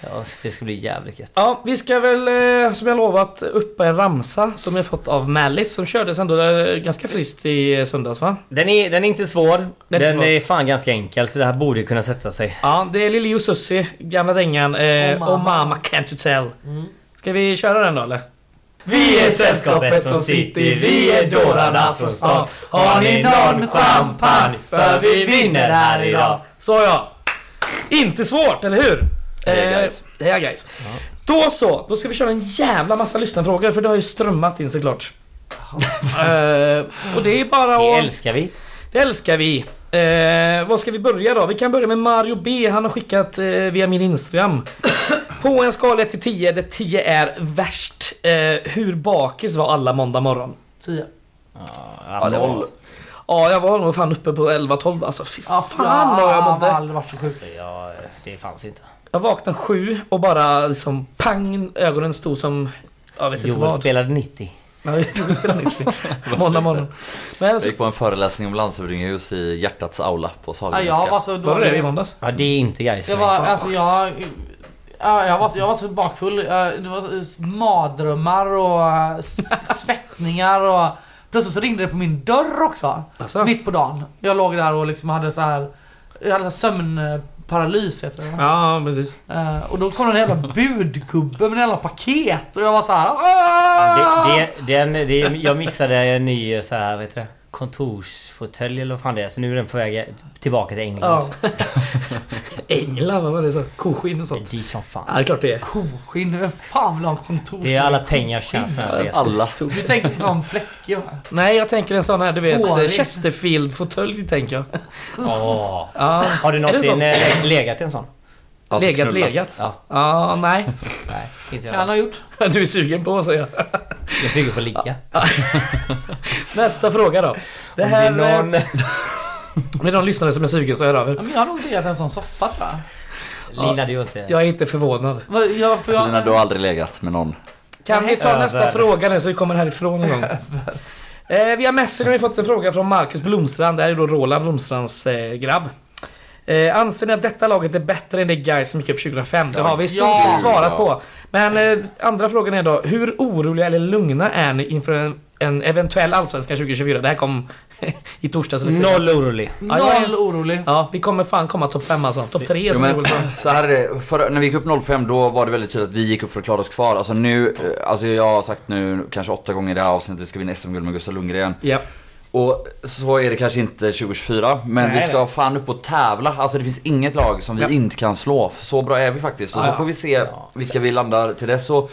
Ja, det ska bli jävligt gött. Ja, vi ska väl eh, som jag lovat uppa en ramsa som jag fått av Mallis som kördes ändå eh, ganska friskt i eh, söndags va? Den är, den är inte svår. är Den, inte svår. är fan ganska enkel så det här borde kunna sätta sig. Ja, det är Lili och Susie, gamla dängan. Eh, Oh, oh, mama. mama can't you tell. Ska vi köra den då eller? Mm. Vi är sällskapet från city, vi är dårarna från stan. Har ni någon champagne? För vi vinner här idag. Så ja. Inte svårt, eller hur? Heja, guys. Eh, Heja guys. Då så, då ska vi köra en jävla massa lyssnarfrågor för det har ju strömmat in såklart. eh, och det är bara att... Det älskar vi. Det älskar vi. Eh, vad ska vi börja då? Vi kan börja med Mario B. Han har skickat eh, via min [COUGHS] Instagram. På en skala 1 till 10 där 10 är värst. Eh, hur bakis var alla måndag morgon? 10. Ja, Noll. noll. Ja, jag var nog fan uppe på 11-12 alltså. Fy Ja, fan vad jag har mådde. aldrig varit så sjuk. Ja, det fanns inte. Jag vaknade sju och bara liksom pang, ögonen stod som... Jag vet inte Joel vad. spelade 90. Nej, jag spelade [LAUGHS] inte. Måndag morgon. Men Jag så, gick på en föreläsning om landshövdingehus i hjärtats aula på Ja, jag var Sahlgrenska. så dålig. var det det i måndags? Ja, det är inte guys. Jag var, alltså jag... Ja, jag, var, jag var så bakfull. Eh, Det var s- mardrömmar och eh, s- [LAUGHS] svettningar och... Plötsligt så ringde det på min dörr också. Alltså. Mitt på dagen. Jag låg där och liksom hade så här... Jag hade så här sömnparalys heter det. va? Ja, precis. Eh, och då kom det en jävla budgubbe med en jävla paket och jag var så här. Det, "Aah!" det, den, det, jag missade en ny eh, så här, vad heter det? Kontorsfåtölj eller vad fan det är. Så nu är den på väg tillbaka till England. Ja, Änglar, vad var det? Så, koskinn och Det sånt. är dyrt som Ja, fan. det är klart det är. koskinn. Vem fan vill ha en kontors... Det är alla pengar jag tjänat på den här resan. Alla. Du tänkte som fläcke va? Nej, jag tänker en sån här, du vet, Hårig. Chesterfield-fåtölj tänker jag. Åh. Ja, Har du Är det någonsin så? eh, legat i en sån? Alltså, legat, knullat. legat. Ja. Ja, nej. [LAUGHS] Nej, inte Han jag. har gjort. Du är sugen på, säger jag. Jag suger på att ligga. Nästa fråga då. Det Om här det är är någon... Med de lyssnare som är sugen så hör av Ja, er. men jag har nog legat i en sån soffa tror jag. Lina, du är inte... Jag är inte förvånad. Vad- Jag, för Lina, Alltså, du jag har aldrig legat med någon. Kan vi ta Över. nästa fråga nu så vi kommer härifrån en gång? Eh, via Messenger har vi fått en fråga från Marcus Blomstrand. Det här är då Roland Blomstrands eh, grabb. Eh, anser ni att detta laget är bättre än det guys som gick upp 2005? Det har vi i stort Ja. sett svarat på. Men eh, andra frågan är då, hur oroliga eller lugna är ni inför en, en eventuell allsvenskan 2024? Det här kom [LAUGHS] i torsdags eller fredags. Noll orolig. Ja, jag är- noll orolig. Ja, vi kommer fan komma topp 5 alltså. Topp 3 Jo, som men, men... [CLEARS THROAT] så här är det, Förra- när vi gick upp 05 då var det väldigt tydligt att vi gick upp för att klara oss kvar. Alltså nu, eh, alltså jag har sagt nu kanske åtta gånger i det här avsnittet att vi ska vinna SM-guld med Gustav Lundgren. Ja. Och så är det kanske inte 2024 men Nej, vi ska nej. fan upp och tävla. Alltså det finns inget lag som vi Ja. inte kan slå. Så bra är vi faktiskt. Och så får vi se vilka vi landar till dess och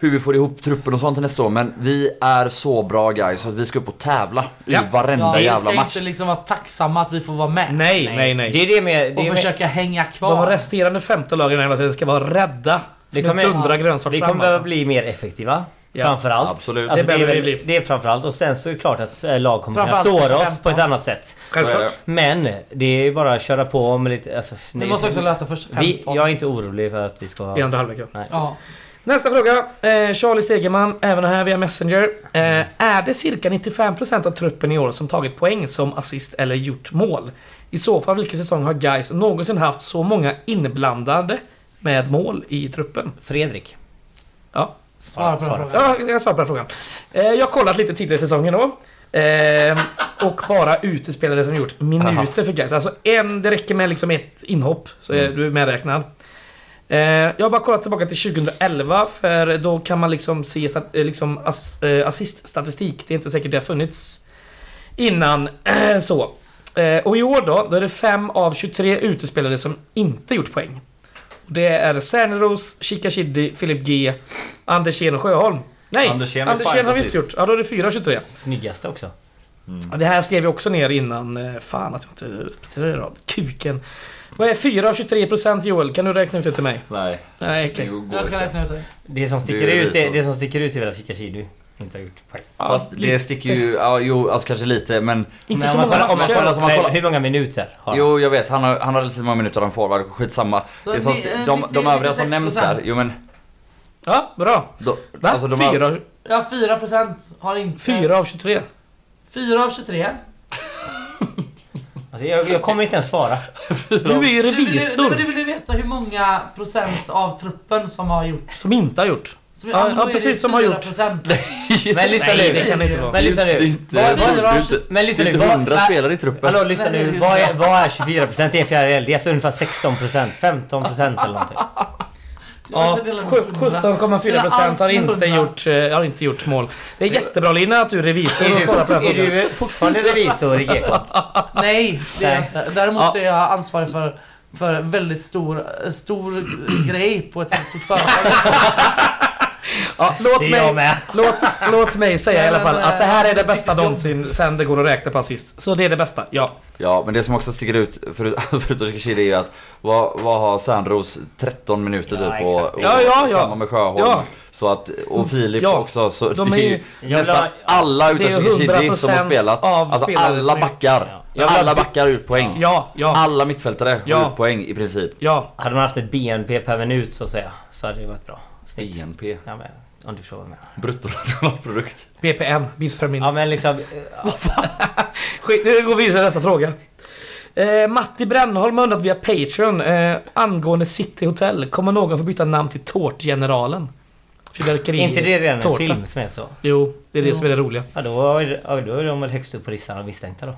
hur vi får ihop truppen och sånt till nästa år. Men vi är så bra guys så att vi ska upp och tävla Ja. i varenda vi jävla ska match. inte liksom vara tacksamma att vi får vara med. Nej, nej, nej. Det är det med... Och Det är med försöka hänga kvar. De resterande 15 lagen i den här hela tiden ska vara rädda. Vi Det kommer kommer- dundra grönsvart vi fram kommer behöva alltså. bli mer effektiva. Ja, framförallt. absolut. Alltså, Det det, är behöver väl, det bli. det är framförallt. Och sen så är det klart att eh, lag kommer kunna Framförallt såra oss första på ett femton. annat sätt. Självklart. Men det är bara att köra på med lite... Alltså, Vi nej. måste också lösa första vi, 15. jag är inte orolig för att vi ska... I andra halvlek ja. Nej. Ja. Nästa fråga. Eh, Charlie Stegeman, även här via Messenger. Eh, är det cirka 95% av truppen i år som tagit poäng som assist eller gjort mål? I så fall, vilken säsong har Gais någonsin haft så många inblandade med mål i truppen? Fredrik. Ja, Svara på den Svara. frågan. Ja, jag svarar på den frågan. Eh, jag har kollat lite tidigare i säsongen då. Eh, och bara utespelare som gjort minuter för Gais. Alltså en, det räcker med liksom ett inhopp så är du medräknad. Eh, jag har bara kollat tillbaka till 2011 för då kan man liksom se stat- eh, liksom ass- eh, assiststatistik. Det är inte säkert det har funnits innan [CLEARS THROAT] så. Eh, och i år då, då är det 5 av 23 utespelare som inte gjort poäng. Och Det är Serneros, Chikashiddi, Filip G, Andersén och Sjöholm. Nej! Andersén Andersén, är fan har precis. visst gjort. Ja, då är det 4 av 23. Snyggaste också. Mm. Det här skrev jag också ner innan. Eh, Fan att jag inte... Det är rad. Kuken. Vad är 4 av 23 procent Joel? Kan du räkna ut det till mig? Nej, Nej, det okej. går Jag kan inte. räkna ut det. Det som sticker, Det är ut, är, så. det som sticker ut är väl att Chikashidu inte har gjort poäng. Fast det sticker ju... Ja, jo, alltså kanske lite men... Inte Men så om man många kollar- om man matcher. kollar- om man Nej. kollar- Hur många minuter har han? Jo, jag vet. Han har, han har lite många minuter han får. va? Skitsamma. Då Det är som, ni- eh, de, de 90, övriga som nämns där. 96%. Jo men... Ja, bra. De, Va? alltså, de Fyra [LAUGHS] har, av- Ja, 4% har inte... fyra av 23. 4 av 23. Alltså, jag, jag kommer inte ens svara. Du är ju Du vill, du, revisor du vill ju veta hur många procent av truppen som har gjort... som inte har gjort. Som, Ja, ja, men då är det precis, som har gjort. 4%. Men lyssna Nej, nu. det kan det inte vara. Men lyssna Det är nu. inte- Vad- det är vad- inte- Men lyssna det är nu. inte Vad- hundra vad- spelare i truppen. Hallå lyssna nu. Vad är, vad är 24% i en fjärdedel? Det är alltså ungefär 16%, 15% eller någonting. Ja, Jag delar sju- med hundra. Dela allt 17,4% har med inte, hundra. gjort, eh, har inte gjort mål. Det är jättebra Lina att du är revisor och svarar på den Är frågan. du fortfarande revisor i GK? Nej, det är jag Nej. inte. Däremot Ja. så är jag ansvarig för, för en väldigt stor, eh, stor grej på ett väldigt stort företag. Ja, låt, Det är mig, jag med. låt, låt mig säga i alla fall att det eh, här är det bästa Vilket jobb. någonsin sen det går att räkna på assist. Så det är det bästa, ja. Ja, men det som också sticker ut förut- [LAUGHS] förutom Shikashiri är ju att vad, vad har Särnros 13 minuter Ja, typ och, exakt. och Ja, ja, ja. samma med Sjöholm. Ja. Så att, och Filip Ja, också. Så de det är är ju- ju Jag vill nästan ha- alla utom Det är ju Shikashiri som har 100% spelat. av Alltså spelare alla som har gjort- backar. Ja. Jag vill Alla ha- backar har gjort poäng. Ja, ja, Alla mittfältare har Ja. gjort poäng i princip. ja. Hade man haft ett BNP per minut så att säga så hade det varit bra. Snitt. BNP. Ja, men, om du förstår vad jag menar. [LAUGHS] Bruttonationalprodukt. BPM, miss per minute. Ja men liksom... Skit, nu går vi vidare till nästa fråga. Eh, Matti Brännholm har undrat via Patreon eh, angående City Hotel. Kommer någon få byta namn till Tårtgeneralen? Fyrverkeri. Är inte det redan en tårta. film som heter så? Jo, det är det som är det roliga. Ja då är, det- ja, då är de väl högst upp på listan av misstänkta då.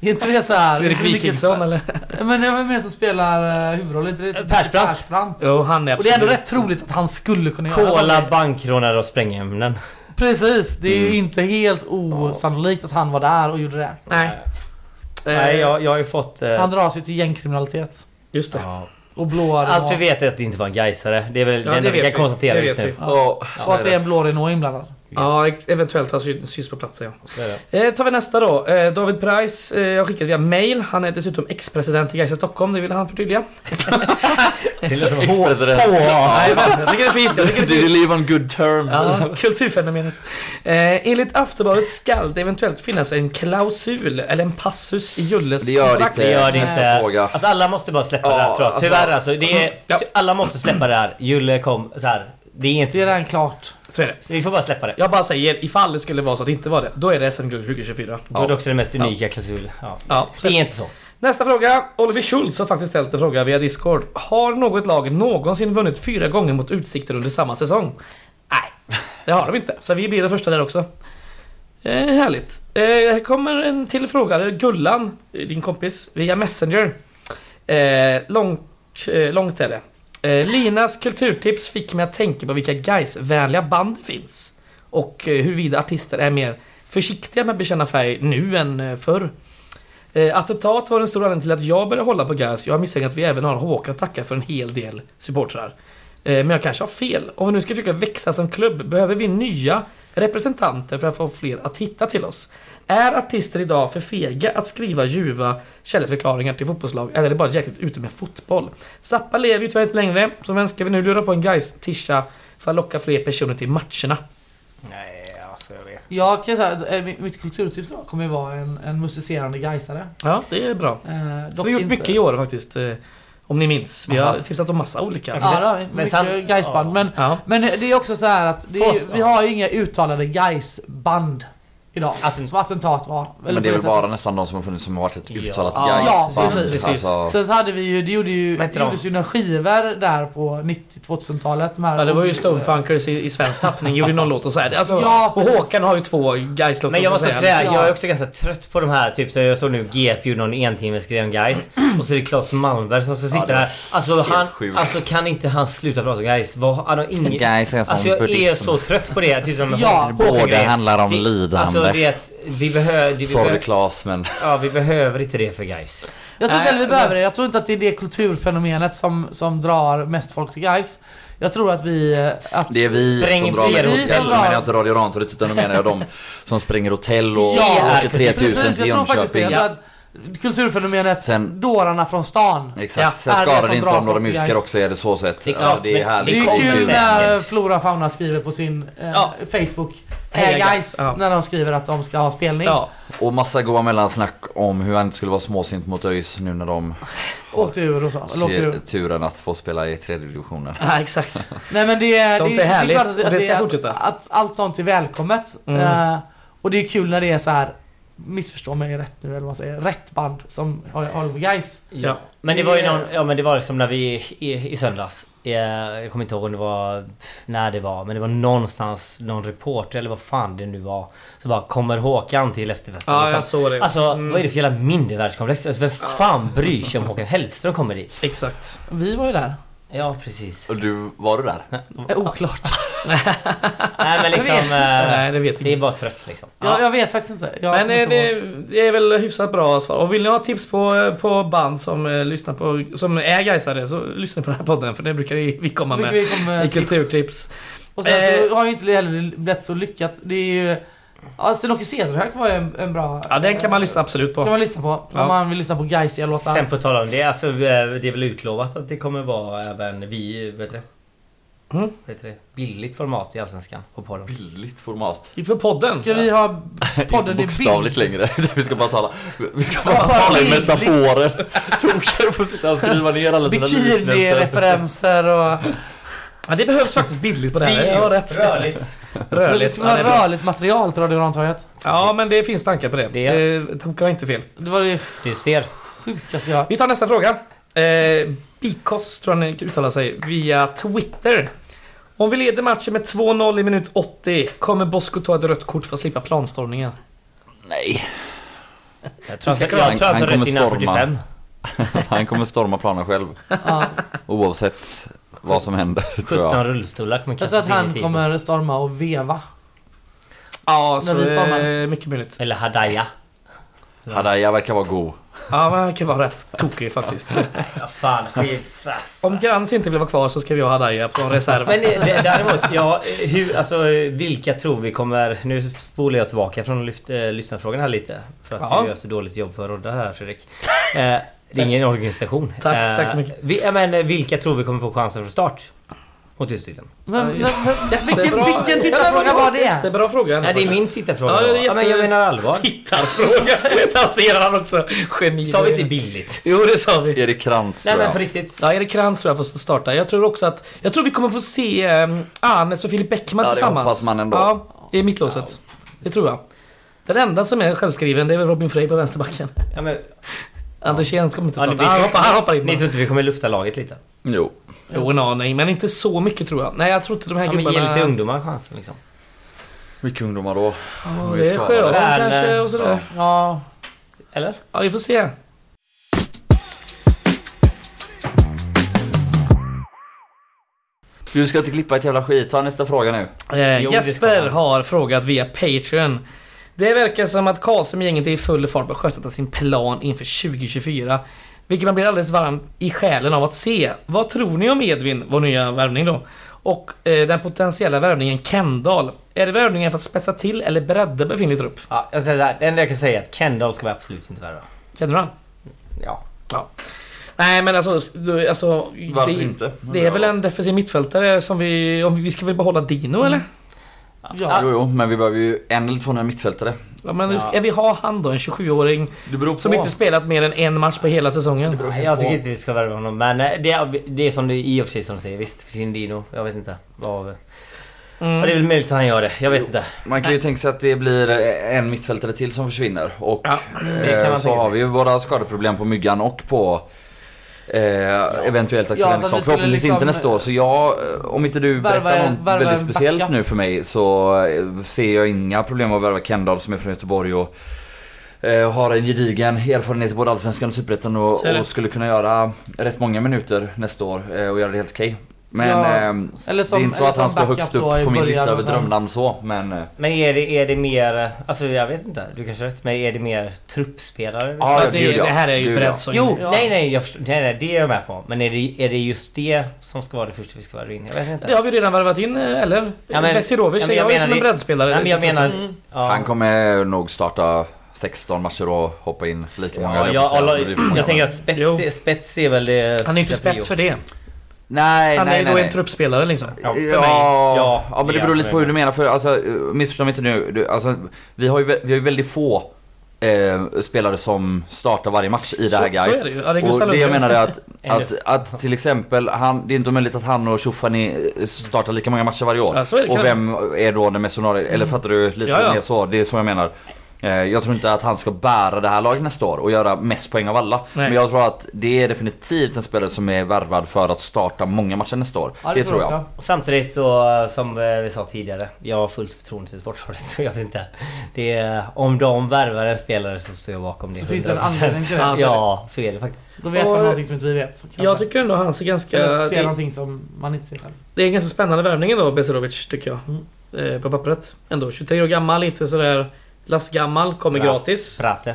Är inte det såhär... Fredrik Wikingsson eller? Men det var mer som spelar eh, huvudrollen, inte det? Eh, Persbrandt. Persbrandt. Jo, han är Och det är ändå absolut- rätt troligt att han skulle kunna göra Kola, det. bankrånare och sprängämnen. Precis, det är ju inte helt osannolikt att han var där och gjorde det. Nej. Nej Eh, jag, jag har ju fått... eh, Han dras ju till gängkriminalitet. Just det. ja. Och blåare Allt vi och, vet är att det inte var en Gaisare. Det är väl det enda vi kan konstatera Det just vet nu. vi. Ja. och att det är en blå Renault inblandad. Ja, ex- eventuellt har syn- syns på platsen ja. Det är det. Eh, tar vi nästa då. Eh, David Price eh, har skickat via mail. Han är dessutom ex-president i Gais i Stockholm, det vill han förtydliga. Det låter som en hår- Ex-president. Nej, men [LAUGHS] jag tycker det är fint. Jag tycker det är Did fint. you live on good terms? Ja, kulturfenomenet. Eh, enligt Aftonbladet skall det eventuellt finnas en klausul eller en passus i Julles Det gör det kontrakt. inte. Det gör det Nästa inte. fråga. Alltså alla måste bara släppa Ja, det här tror jag. alltså- Tyvärr alltså. Det är, Ja. Alla måste släppa det här. Julle kom så här. Det är Det är inte... redan klart. Så är det. Så vi får bara släppa det. Jag bara säger, ifall det skulle vara så att det inte var det, då är det SM-guld 2024. Då är det också den mest unika klausulen. Ja. Ja, Det är inte så. Nästa fråga. Oliver Schultz har faktiskt ställt en fråga via Discord. Har något lag någonsin vunnit fyra gånger mot Utsikten under samma säsong? Nej, det har de inte. Så vi blir det första där också. Eh, härligt. Eh, här kommer en till fråga. Det är Gullan, eh, din kompis, via Messenger. Eh, långt, eh, långt är det. Eh, Linas kulturtips fick mig att tänka på vilka guys vänliga band det finns. Och eh, huruvida artister är mer försiktiga med att bekänna färg nu än eh, förr. Eh, attentat var en stor anledning till att jag började hålla på Gais. Jag har misstänkt att vi även har Håkan att tacka för en hel del supportrar. Eh, men jag kanske har fel. Om vi nu ska försöka växa som klubb behöver vi nya representanter för att få fler att hitta till oss. Är artister idag för fega att skriva ljuva kärleksförklaringar till fotbollslag eller är det bara jäkligt ute med fotboll? Zappa lever ju tyvärr inte längre, så vem ska vi nu lura på en Gais tisha för att locka fler personer till matcherna. Nej, alltså jag vet. Jag kan säga, eh, mi- mitt kulturtips då kommer ju vara en, en musicerande Gaisare. Ja, det är bra. Eh, dock Vi har gjort inte- mycket i år faktiskt. eh, Om ni minns. Vi har Aha. tipsat om massa olika. Ja, det har vi. Men Mycket sen- Gais-band. ja. Men, Ja. men det är också så här att det är, Fast- vi har ju inga uttalade Gais-band idag. Attentat. Som attentat var. Eller Men det är på väl sättet. bara nästan de som har funnits som har varit ett Ja. uttalat Ja, Gais-band. precis. Alltså, Sen så hade vi ju, det gjorde ju, Vad heter det de? gjordes ju några skivor där på 90-2000-talet. Ja, det var ju Stonefunkers i, i svensk tappning. Gjorde någon låt och så här. Alltså, Ja, och precis. Håkan har ju två Gais-låtar. Men jag så att måste också säga. säga, jag är också ganska trött på de här. Typ så jag såg nu GP gjorde någon entimmes grej om [CLEARS THROAT] guys Och så är det Claes Malmberg som ska sitta det var där. Alltså, han, sjukt. alltså kan inte han sluta prata om guys Vad, han har ingen... Guys är en sån alltså jag är buddhism. så trött på det. Typ som Ja, Håkan- båda Håkan-grejen. handlar om Det- lidande. Alltså det är att vi behöver... Vi, Sorry behöver Klas men... ja, vi behöver inte det för guys Jag tror Nej, inte heller vi behöver det. Jag tror inte att det är det kulturfenomenet som, som drar mest folk till Gais. Jag tror att vi... eh, Att, Det är vi Spräng som drar fler till hotell, hotell. nu menar jag inte Radio Rantorget utan nu typ menar jag de som spränger hotell och Ja, åker 3000 Precis, till jag tror faktiskt det. Jönköping. Jag tror att kulturfenomenet Sen- dårarna från stan. Exakt, sen är det skadar som det inte drar om några folk till musiker Gais. också är det så sett. Det är Alltså, klart, det är men- Det härligt. är ju kom kul ju när säkert. Flora och Fauna skriver på sin eh, Ja. Facebook Heja Hey guys, Gais, ja. när de skriver att de ska ha spelning. Ja, Och massa goa mellansnack om hur han inte skulle vara småsint mot ÖIS nu när de Åkte ur och så. Eller åkte ur. ser turen att få spela i tredje divisionen. ja exakt. Nej men det, är- Sånt är det klart härligt, att och det ska att- fortsätta. Att allt sånt är välkommet. Mm. Eh, och det är kul när det är så här. Missförstå mig rätt nu eller vad man säger. Rätt band som har- håller på guys. Ja. Men det var ju Det- någon, ja men det var som när vi i, i söndags eh, Jag kommer inte ihåg om det var När det var men det var någonstans Någon reporter eller vad fan det nu var Så bara kommer Håkan till efterfesten Ja, liksom. jag såg det. Alltså Mm. vad är det för jävla mindervärdskomplex? Alltså vem fan bryr sig om Håkan Hellström kommer dit? Exakt. Vi var ju där. Ja precis Och du, var du där? Eh, oklart. Nej men liksom Jag vet inte. eh, Nej, det vet jag Det är inte. bara trött liksom Jag, jag vet faktiskt inte. Jag Men kommer eh, inte ihåg. det, det är väl hyfsat bra svar. Och vill ni ha tips på, eh, på band som eh, lyssnar på, som är Gaisare så lyssna på den här podden för det brukar vi, vi komma Brukar med. vi komma med I tips. kulturtips. Och sen Eh. så har ju inte heller blivit så lyckat. Det är ju... Ja, Sten-Åke Cederhök var ju en, en bra... Ja, den kan man lyssna absolut Kan på. man lyssna på. Ja. Om man vill lyssna på Gaisiga låtar. Sen på tal om det, alltså eh, det är väl utlovat att det kommer vara även vi, vet du det? Mm. Vet du det? Billigt format i Allsvenskan på podden Billigt format. [LAUGHS] På podden. Alltså, Ska vi ha podden i Inte bild? bokstavligt längre. [LAUGHS] Vi ska bara tala, vi ska bara tala i billigt. metaforer. [LAUGHS] Toker får sitta och skriva ner alla sina liknelser. Bikini-referenser och... Ja, det behövs faktiskt bildligt på det här. Jag har rätt. Rörligt! Men Det Rörligt. skulle vara Ja, det är bra. rörligt material till Radio Rantorget. Ja, men det finns tankar på det. Det Eh, Tankar har inte fel. Det var det Du ser. sjukaste jag... Vi tar nästa fråga. Eh, Bikos tror jag ni uttalar sig via Twitter. Om vi leder matchen med 2-0 i minut 80 kommer Bosko ta ett rött kort för att slippa planstormningen. Nej, Jag tror att ska jag kolla. tror att Han- han han tar kommer rätt innan storma. 45. han kommer storma planen själv. Ja. Oavsett vad som händer tror 17 jag. rullstolar kommer Jag tror att kastas in i han tifon. kommer storma och veva. Ja, När så vi stormar. eh, mycket möjligt. Eller Hadaya. Hadaya verkar vara god. Ja, men han kan vara rätt tokig faktiskt. Ja fan, skit. Om Grans inte vill vara kvar så ska vi ha Hadaya på reserv. Men eh, d- däremot, ja, eh, hur, alltså eh, vilka tror vi kommer... Nu spolar jag tillbaka från lyft, eh, lyssnarfrågan här lite. För att Ja. du gör så dåligt jobb för att rodda här Fredrik. Eh, det är ingen organisation. Tack, Eh, tack så mycket. Vi, ja, men, eh, vilka tror vi kommer få chansen från start? Mot Utsikten. Men, men, Ja, men, vilken Jättebra. vilken tittarfråga var det? Jättebra fråga. ändå Nej, det är faktiskt. min tittarfråga. Ja, då. det är ja, men jag jätte- menar [LAUGHS] allvar. Tittarfråga! Placerar han också. Geni. Sa vi inte billigt? Jo, det sa vi. Erik Krantz Nej tror men på jag. riktigt. Ja, Erik Krantz tror jag får starta. Jag tror också att... Jag tror vi kommer få se um, Arnes och Filip Bäckman Ja, det tillsammans. hoppas man ändå. Ja, i mittlåset. Det tror jag. Den enda som är självskriven, det är väl Robin Frey på vänsterbacken. Ja, men, Anders Jens kommer inte ja, ni, starta. han, hoppar, han hoppar in. ni tror inte vi kommer lufta laget lite? Jo. Jo, en aning. Men inte så mycket tror jag. Nej, jag tror inte de här Ja, men gubbarna... ge lite ungdomar chansen liksom. Mycket ungdomar då. Ja, Vi det är ska- Sjöholm Färne. kanske och sådär. Ja, Eller? Ja, vi får se. Du ska inte klippa ett jävla skit. Ta nästa fråga nu. Eh, Jo, det ska Jesper han. har frågat via Patreon. Det verkar som att Karlström-gänget är i full fart på skötet av sin plan inför 2024. Vilket man blir alldeles varm i själen av att se. Vad tror ni om Edvin, vår nya värvning då? Och eh, den potentiella värvningen Kendall. Är det värvningen för att spetsa till eller bredda befintlig trupp? Ja, jag säger så här, det enda jag kan säga är att Kendall ska vi absolut inte värva. Känner du han? Ja. Ja. Nej men alltså, du- alltså Varför det, inte? det är väl en defensiv mittfältare som vi... Om vi ska väl behålla Dino Mm. eller? Ja. Jo, jo, men vi behöver ju en eller två nya mittfältare. Ja, men Ska vi ha han då? En 27-åring Det beror som inte spelat mer än en match på hela säsongen. Jag tycker inte vi ska värva honom. Men eh, det är, det är som det i och för sig som du säger. Visst, Findino. Jag vet inte. Vad... Ja, Det är väl möjligt att han gör det. Jag vet inte. Man kan ju tänka sig att det blir eh, en mittfältare till som försvinner. Och det kan man eh, tänka så sig. har vi ju våra skadeproblem på Myggan och på eh, eventuellt Axel Ja, så att Henriksson. vi skulle Förhoppningsvis liksom- inte nästa år. Så jag, eh, om inte du Värva berättar en- något värva väldigt en speciellt backup. nu för mig så eh, ser jag inga problem med att värva Kendall som är från Göteborg och eh, har en gedigen erfarenhet i både Allsvenskan och Superettan och, Så är det. och skulle kunna göra rätt många minuter nästa år eh, och göra det helt okej. Men Ja, ehm, eller som- det är inte så eller att han som står backup högst då upp i på min början lista över och sen- drömnamn så men... eh, Men är det, är det mer... eh, Alltså jag vet inte. Du kanske har rätt. Men är det mer truppspelare? Ja, det, gud, ja. det här är ju Gud, ja. brett så Jo, Ja. nej nej, jag förstår, nej nej det är jag med på. Men är det, är det just det som ska vara det första vi ska värva in? Jag vet inte. Det har vi redan värvat in, eh, eller? Ja, men- Besirovic ja, ser men jag jag ju menar som en det- breddspelare. Nej men jag Mm. menar... Ja. Han kommer nog starta 16 matcher och hoppa in lika många. Ja, höll jag, på att säga. alla, Det blir för många. jag tänker att Jo. spets, spets är väl det Han är inte första prio. spets för det. Nej, Han nej, är ju nej, då nej. en truppspelare liksom. Ja, för mig. Ja, Ja, ja, men det ja, beror lite för på mig. hur du menar. För alltså, eh, missförstå mig inte nu. Du, alltså, vi, har ju, vä- vi har ju väldigt få eh, spelare som startar varje match i det här Så, guys. så är det ju. Ja, det är Gustav och det jag Lundgren. menar är att, Eller- att, att till exempel, han, det är inte möjligt att han och Tjofani eh, startar lika många matcher varje år. Ja, så är det, kan och vem är då den mest ordinarie? Eller fattar du lite Ja, ja. mer så? Det är så jag menar. Eh, Jag tror inte att han ska bära det här laget nästa år och göra mest poäng av alla. Nej. Men jag tror att det är definitivt en spelare som är värvad för att starta många matcher nästa år. Ja, det, tror jag. också. Samtidigt så som eh, vi sa tidigare. Jag har fullt förtroende till Sportrådet [LAUGHS] så jag vet inte. Det är, om de värvar en spelare så står jag bakom det Så finns det en 100%. anledning till det. Ja, så är det. [LAUGHS] Ja, så är det faktiskt. Då vet Och- han någonting som inte vi vet. [LAUGHS] Kanske. Jag tycker ändå han ser ganska... Eller ser Det, någonting som man inte ser själv. det är en ganska spännande värvning ändå, Besirovic, tycker jag. Mm. Eh, på pappret. Ändå 23 år gammal, inte sådär lastgammal, kommer Ja. gratis. Prate.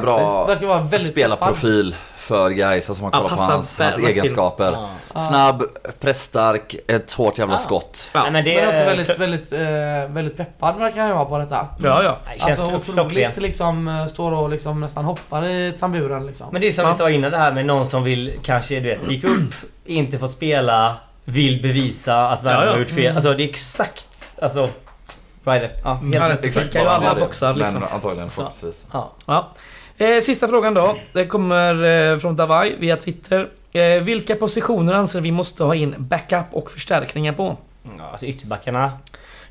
Det bra verkar vara väldigt peppad. spelarprofil för guys alltså man Ja, kollar på passar hans, hans väldigt till. egenskaper. Snabb, pressstark, ett hårt jävla Ja. skott. Ja. Nej, men det Men också är... väldigt, väldigt, eh, väldigt peppad verkar han ju vara på detta. Ja, ja. Nej, känns Alltså klockrent. otroligt liksom, eh, står och liksom nästan hoppar i tamburen liksom. Men det är som vi sa innan det här med någon som vill kanske du vet, gick upp, inte fått spela, vill bevisa att världen Ja, ja. har gjort fel. Alltså det är exakt... Alltså... Vad är det? Ja, helt Ja, rätt. exakt. Tickar ju alla Ja, det- boxar, liksom. Men antagligen Så. förhoppningsvis. Ja. Ja. Eh, sista frågan då. Det kommer eh, från Davai via Twitter. Eh, vilka positioner anser vi måste ha in backup och förstärkningar på? Ja, alltså ytterbackarna.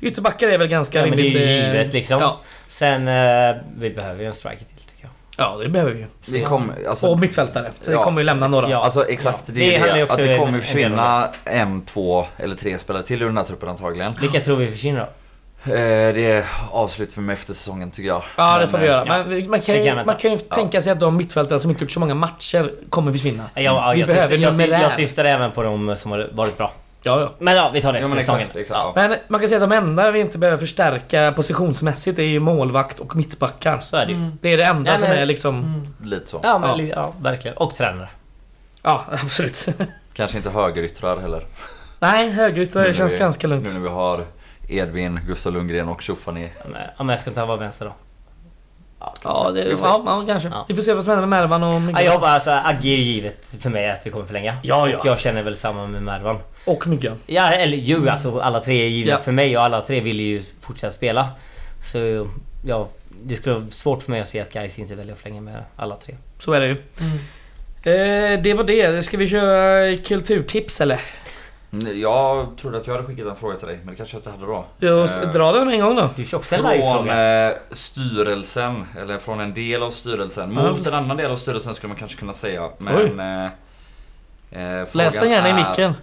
Ytterbackar är väl ganska Ja, men det är rimligt. ju eh, givet liksom. Ja, Sen... Eh, vi behöver ju en striker till tycker jag. ja det behöver vi ju. Vi kom, alltså, Och mittfältare. Så vi Ja. kommer ju lämna några. Ja. Alltså exakt, Ja. det, Det är handlar det. ju också Att det en- kommer en försvinna en, två eller tre spelare till ur den här truppen antagligen. Vilka tror vi försvinner då? Eh, det är avslut för mig efter säsongen tycker jag. Ja det Men, får vi eh, göra. ja. Men vi- man kan Det ju, kan vänta. man kan ju tänka sig att de mittfältare som inte gjort så många matcher kommer försvinna. Ja, ja, Vi jag, behöver syftar, jag, syftar, numerär. jag syftar även på de som har varit bra. Ja, ja. Men ja, vi tar det Ja, efter men säsongen. exakt, exakt, ja. Men man kan säga att de enda vi inte behöver förstärka positionsmässigt är ju målvakt och mittbackar. Mm. Så är det ju. Det är det enda Nej, som men- Mm. är liksom... Lite så. Ja, men, Ja. li- ja, verkligen. Och tränare. Ja, [LAUGHS] absolut. Kanske inte högeryttrar heller. Nej, högeryttare Nu när känns vi- ganska lugnt. Nu när vi har Edvin, Gustav Lundgren och Tjofani. Ja, men- Ja, men jag ska inte vara vänster då. Ja, det, Vi får se. ja, ja, kanske. Ja. Vi får se vad som händer med Mervan och Ja, Myggan. jag bara, alltså, Agge är ju givet för mig att vi kommer förlänga. Ja, ja. Och jag känner väl samma med Mervan. Och Myggan. Ja, eller ju alltså. Alla tre är givna Mm. Ja. för mig och alla tre vill ju fortsätta spela. Så ja, det skulle vara svårt för mig att se att guys inte väljer att förlänga med alla tre. Så är det ju. Eh, det var det. Ska vi köra kulturtips eller? Mm, Jag trodde att jag hade skickat en fråga till dig, men det kanske jag inte hade då. Jag Eh, dra den med en gång då. Du kör också en Från livefråga. eh, styrelsen, eller från en del av styrelsen. Mot en annan del av styrelsen skulle man kanske kunna säga. Men... Eh, eh, Läs den frågan gärna i är- micken.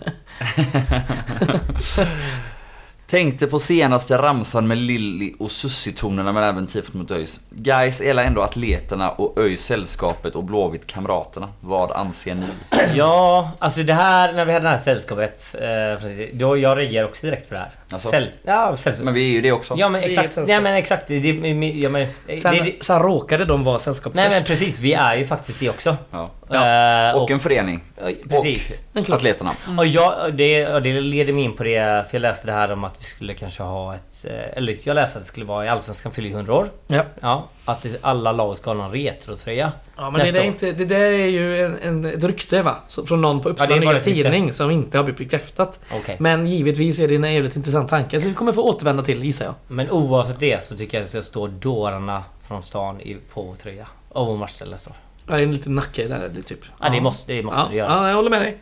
Tänkte på senaste ramsan med Lilly och Sussi-tonerna men även tifot mot ÖIS. Guys gillar ändå atleterna och ÖIS sällskapet och Blåvitt kamraterna. Vad anser ni? [CLEARS THROAT] Ja, alltså det här, när vi hade det här sällskapet. Eh, precis, då, jag reagerar också direkt på det här. Alltså? Säll- ja, sällskapet. Men vi är ju det också. Ja men Vi är ett exakt. sällskap. Ja men exakt. Det, det, ja, men, det, Sen, det, sen råkade de vara sällskap nej först. men precis, vi är ju faktiskt det också. Ja. Eh, Och en förening. eh, precis. En Och klubb. atleterna. Och jag, det, och det leder mig in på det, för jag läste det här om att vi skulle kanske ha ett... eh, Eller jag läste att det skulle vara i Allsvenskan fyller ju 100 år. Ja. Ja, att det, alla lag ska ha någon retrotröja. Ja men det, Nästa där är år. inte, det där är ju en, en, ett rykte va? Så- Från någon på Uppsala Ja, det är bara Nya ett rykte. Tidning som inte har blivit bekräftat. Okej. Men givetvis är det en jävligt intressant tanke som vi kommer få återvända till gissar jag. Men oavsett det så tycker jag att det ska stå dårarna från stan i, på vår tröja. Av vår matchställ nästa år. Ja, det är en liten nacke där det typ. Ja, det måste, det måste ja. du göra. Ja, jag håller med dig.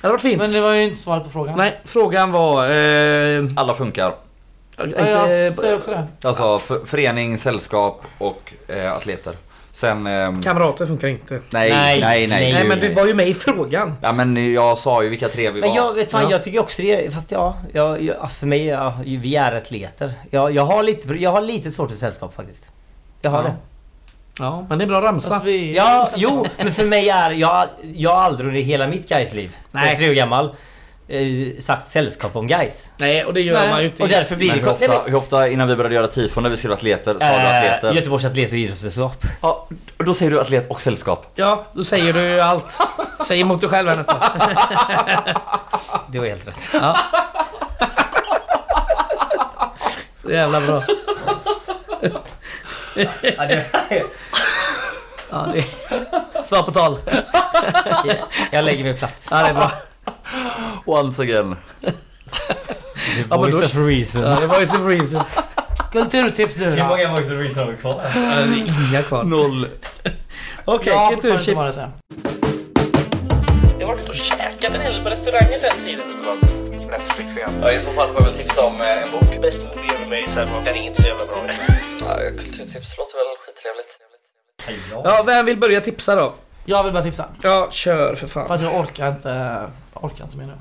Det hade varit fint. Men det var ju inte svaret på frågan. Nej, frågan var... Eh, Alla funkar. Ja, jag säger inte, eh, också det. Alltså för, förening, sällskap och eh, atleter. Sen... ehm, kamrater funkar inte. nej, nej, Nej, nej, nej. nej. Nej ju, men du var ju med i frågan. Ja men jag sa ju vilka tre vi var. Men jag vet fan, Ja. jag tycker också det. Fast ja, jag, jag, för mig, ja, vi är atleter. Jag, jag, har lite, jag har lite svårt för sällskap faktiskt. Jag har Ja. det. Ja, men det är bra ramsa. Fast Alltså, vi... Ja, jo, men för mig är... Jag, jag har aldrig under hela mitt guys liv Nej. 33 år gammal, eh, sagt sällskap om guys Nej, och det gör Nej. man ju inte. Och därför blir Men det... hur kom- ofta, hur ofta innan vi började göra tifon när vi skrev atleter, sa du Nej, men, atleter? eh, Göteborgs atlet och idrottssällskap. Ja, då säger du atlet och sällskap. Ja, då säger du ju allt. Säg emot dig själv här nästan. Det var helt rätt. Så jävla bra. Ja, det, Ja, det... Svar på tal. jag lägger mig platt. Ja, det är bra. Once again. The men voice då- of reason. Ja, det var ju så reason. Kulturtips nu då. många voice of reason har vi kvar? Inga kvar. Noll. Okej, okay, Ja, fortfarande inte kulturchips. svaret än. Jag har varit och käkat en hel del på restauranger sen tiden. Ja, I så fall får jag väl tipsa om eh, en bok. bäst hon lever med i Selma. Den är inte så [LAUGHS] jävla bra. Kulturtips låter väl skittrevligt. Ja, vem vill börja tipsa då? Jag vill bara tipsa. Ja, kör för För fan. att jag orkar inte... jag Orkar inte mer nu.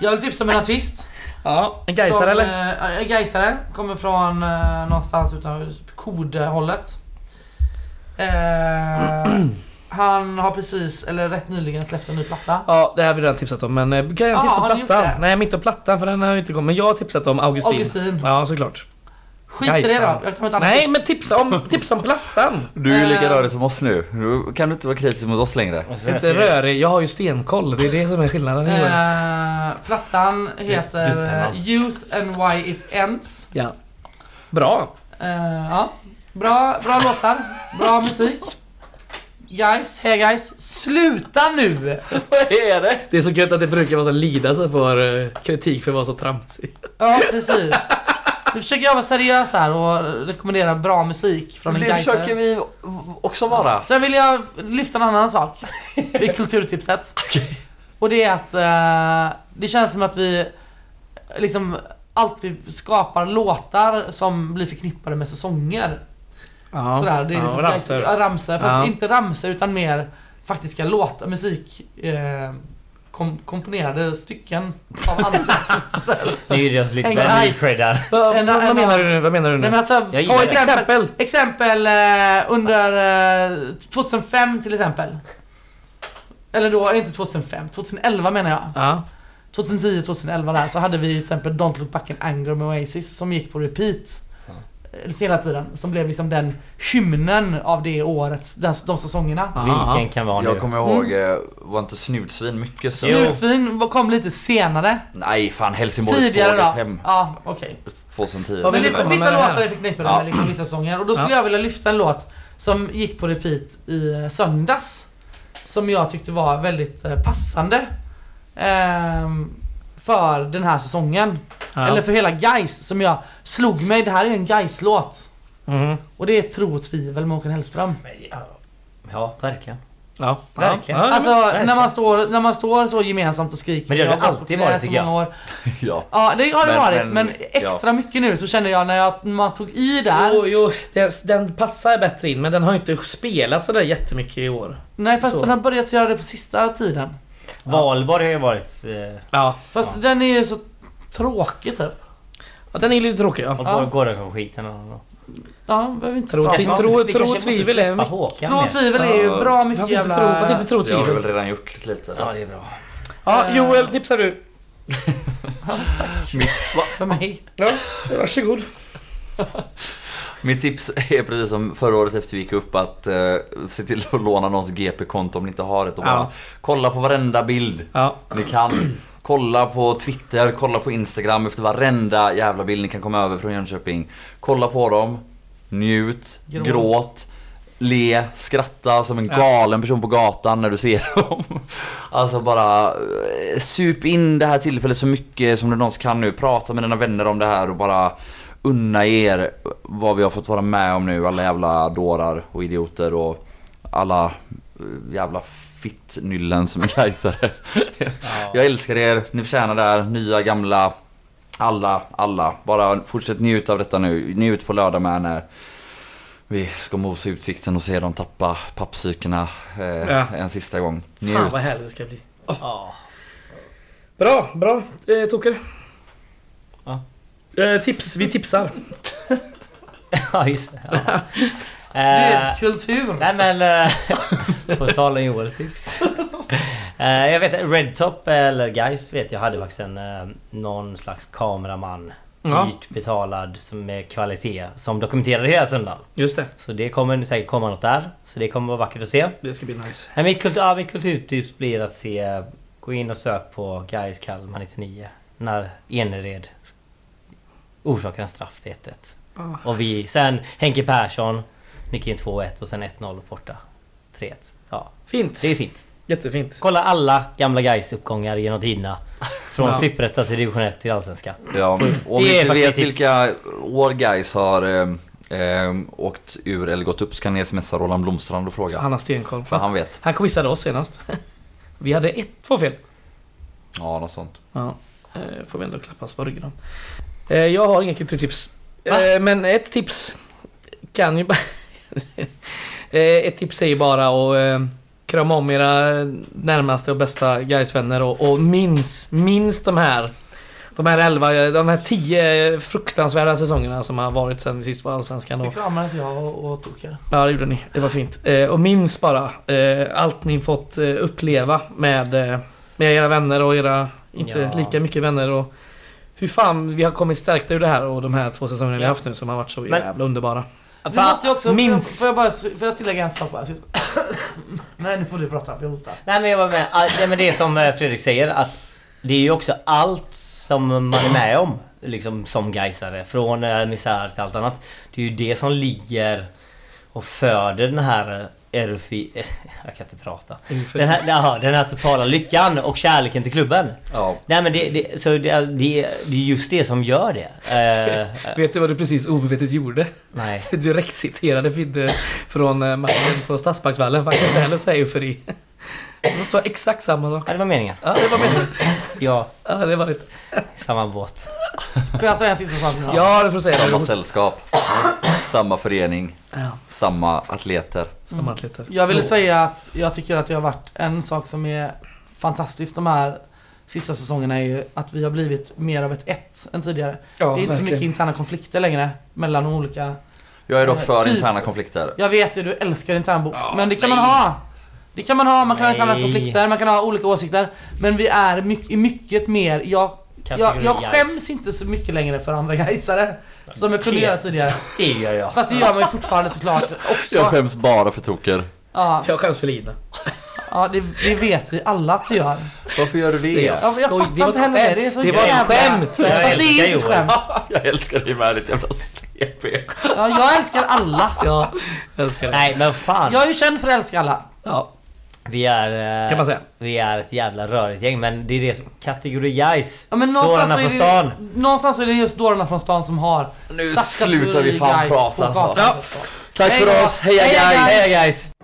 Jag vill tipsa om en artist. Ja, en gaisare som, eller? eh, ja, en Gaisare. Kommer från eh, någonstans utanför Kode-hållet. Eh, [CLEARS THROAT] han har precis, eller rätt nyligen släppt en ny platta. Ja, det här har vi redan tipsat om men eh, kan jag Ja, tipsa har ni om gjort plattan? det? Nej, men inte om plattan för den har ju inte kommit. Men jag har tipsat om Augustin. Augustin. Ja, såklart. Skit i det Gaisare. då. Jag tar ett annat Nej, tips. men tipsa [LAUGHS] om, tipsa om plattan! Du är ju lika Eh. rörig som oss nu. Nu kan du inte vara kritisk mot oss längre. Inte rörig, jag har ju stenkoll. Det är det som är skillnaden. Johan. Eh, plattan heter duttarna. eh, Youth and Why It Ends. Ja. Bra! Eh, ja. bra, bra låtar, bra musik. Guys, hey guys, sluta nu! Vad är det? Det är så gött att det brukar vara så lida sig för eh, kritik för att vara så tramsig. Ja, precis. Nu försöker jag vara seriös här och rekommendera bra musik från en Det försöker Gaisare. vi också vara. Sen vill jag lyfta en annan [LAUGHS] sak i kulturtipset. Och det är att eh, det känns som att vi liksom alltid skapar låtar som blir förknippade med säsonger. Ja, Sådär, det är ja, liksom och ramsor. Ja, ramsor, fast Ja. inte ramsor utan mer faktiska låtar, musik eh, kom, komponerade stycken av [LAUGHS] andra artister. Nu är det lite En väl guys. mycket cred där. Vad- En- vad, en- menar du nu? vad menar du nu? Nej, men alltså, Jag gillar ta det. ett exempel. Exempel eh, under eh, 2005 till exempel. Eller då, inte 2005, 2011 menar jag. Ja. 2010, 2011 där så hade vi ju till exempel Don't Look Back in Anger med Oasis som gick på repeat. eh, Hela tiden, som blev liksom den hymnen av det årets, den, de säsongerna. Aha. Vilken kan vara Jag nu? kommer ihåg, eh, var inte snutsvin mycket så? Snutsvin var- kom lite senare. Nej fan, Helsingborgs Tidigare då. hem Ja, okej. typ. Vad 2010. Men vill det, du komma vissa med det här? låtar är förknippade Ja. med liksom, vissa sånger. Och då skulle Ja. jag vilja lyfta en låt som gick på repeat i eh, söndags. Som jag tyckte var väldigt eh, passande. ehm, för den här säsongen. Ja. Eller för hela Guys som jag slog mig. Det här är en guys låt Mm. Och det är Tro och tvivel med Håkan Hellström. Ja, verkligen. Ja. Verkligen. Ja, ja, Alltså när man, står, när man står så gemensamt och skriker. Men det har jag det har gått på alltid knä varit, så tycker jag. många år. Ja. Ja det har det Men- varit. men- Men, ja. extra mycket nu så känner jag när, jag när man tog i där. men- Jo, jo den, den passar bättre in men den har ju inte spelat sådär jättemycket i år. Nej fast Så. den har börjat göra det på sista tiden. Valborg har ju varit... eh, Ja. Fast den är ju så tråkig typ. ja den är lite tråkig Och ja. Ja. ja. går kanske skit en annan dag. Ja, vi behöver inte Tro och prata tvivel. om Tro- det. Vi tro- kanske måste tvivel är släppa mycket- Håkan Tro och mer. tvivel är ju Ja, bra mycket Fast inte jävla... tro, fast inte tro Det har vi väl tvivel. redan gjort lite. Ja, det är bra. Ja, Joel tipsar du. För mig. Ja, varsågod. Mitt tips är precis som förra året efter vi gick upp att eh, se till att låna någons GP-konto om ni inte har ett och Ja. bara kolla på varenda bild Ja. ni kan. Kolla på Twitter, kolla på Instagram efter varenda jävla bild ni kan komma över från Jönköping. Kolla på dem, njut, Gråt. gråt, le, skratta som en galen person på gatan när du ser [LAUGHS] dem. Alltså bara eh, sup in det här tillfället så mycket som du någonsin kan nu. Prata med dina vänner om det här och bara unna er vad vi har fått vara med om nu. Alla jävla dårar och idioter och alla eh, jävla fittnyllen som är [LAUGHS] Gaisare. Jag älskar er, ni förtjänar det här. Nya, gamla, alla, alla. Bara fortsätt njuta av detta nu. Njut på lördag med när vi ska mosa utsikten och se dem tappa pappsykorna eh, Ja. en sista gång. Fan Njut. vad härligt det ska bli. Ja. [LAUGHS] Bra, bra eh, Toker. Ja. Eh, tips, vi tipsar. Ja, just det. [LAUGHS] Ja. [LAUGHS] Det Eh, är ett kultur. Nej men... eh, [LAUGHS] På tal om Johans tips. [LAUGHS] Eh, jag vet Redtop eller Guys vet jag hade faktiskt en eh, någon slags kameraman. Ja. Dyrt betalad som med kvalitet. Som dokumenterade hela söndagen. Just det. Så det kommer säkert komma något där. Så det kommer vara vackert att se. Det ska bli nice. Men mitt, kultur, ja, mitt kulturtips blir att se... Gå in och sök på Guys Kalmar 99. När Enered orsakar en straff till 1-1. Ja. Och vi... Sen Henke Persson nickar in 2-1 och sen 1-0 borta. 3-1. Ja, Fint. det är fint. Jättefint. Kolla alla gamla guys uppgångar genom tiderna. Från Ja. Superettan till Division 1 till Allsvenskan. Ja. Och om Det är ni inte faktiskt vet tips. vilka år Gais har eh, eh, åkt ur eller gått upp så kan ni smsa Roland Blomstrand och fråga. Han har stenkoll. För Fan. han vet. Han quizade oss senast. vi hade ett, två fel. Ja, något sånt. Ja, eh, får vi ändå klappas på ryggen om. Eh, jag har inget kulturtips. Eh, men ett tips kan ju bara... [LAUGHS] eh, ett tips är ju bara att eh, krama om era närmaste och bästa guysvänner och, och minns, minns de här de här 11, de här 10 fruktansvärda säsongerna som har varit sen vi sist var Allsvenskan. Nu Och, kramades jag och, och Toker. ja, det gjorde ni. Det var fint. Eh, och minns bara eh, allt ni fått eh, uppleva med, eh, med era vänner och era inte Ja. lika mycket vänner. Och hur fan vi har kommit stärkta ur det här och de här två säsongerna vi har haft nu som har varit så Men- jävla underbara. Vi måste ju också... minns. Får jag bara får jag tillägga en sak bara? sist? Nej nu får du prata för jag hostar. Nej men jag var med. Ah, Nej, men det är som eh, Fredrik säger att det är ju också allt som man är med om. Liksom som Gaisare. Från eh, misär till allt annat. Det är ju det som ligger och föder den här eh, erufi... eh, [LAUGHS] Jag kan inte prata. Den här, ja, den här totala lyckan och kärleken till klubben. Ja. Nej men det, det, så det, det, det är just det som gör det. Eh, eh, Vet du vad du precis omedvetet gjorde? [LAUGHS] nej. Du direkt citerade Fidde från eh, matchen på Stadsparksvallen. Fan, jag kan inte heller säga eufori. De sa exakt samma sak. Ja, det var meningen. Ja, det var meningen. Ja, Ja, det var det. samma båt. Får jag säga en sista sak? nu? Ja, det får du säga. Samma sällskap. Samma förening. Ja, Samma atleter. samma atleter. Mm. Jag ville säga att jag tycker att det har varit en sak som är fantastisk de här sista säsongerna är ju att vi har blivit mer av ett ett än tidigare. Ja, det är inte så verkligen. mycket interna konflikter längre mellan de olika. Jag är dock för Typ. interna konflikter. Jag vet ju, du älskar internbox, men det kan man ha. Det kan man ha, man kan ha interna Nej. konflikter, man kan ha olika åsikter. Men vi är mycket, mycket mer, jag, jag, jag Kategori skäms inte så mycket längre för andra gaisare Som jag kunde Te. göra tidigare. guys. Det gör jag. För att det gör man ju [LAUGHS] fortfarande såklart Jag också. skäms bara för Toker. Ja, Jag skäms för Lina. ja det, det vet vi alla att du gör. Varför gör du det? Ja, men jag Skoj, fattar det var inte ett heller det. skämt. Det är så Det var ett jävla- skämt. Jag Fast det älskar är inte ett Johan. skämt. [LAUGHS] Jag älskar dig med ditt jävla CP. Ja, jag älskar alla. Ja, jag älskar det. Nej men fan. Jag är ju känd för att älska alla. Ja, Vi är... eh, Kan man säga. Vi är ett jävla rörigt gäng men det är det som... Kategori guys. Ja, men någonstans Dårarna så är från det- stan. Någonstans är det just dårarna från stan som har Nu satt slutar vi kategori fan guys prata, på alltså. kartan. Ja. Tack Hej då. för oss, heja Heja, guys! guys. Hej guys!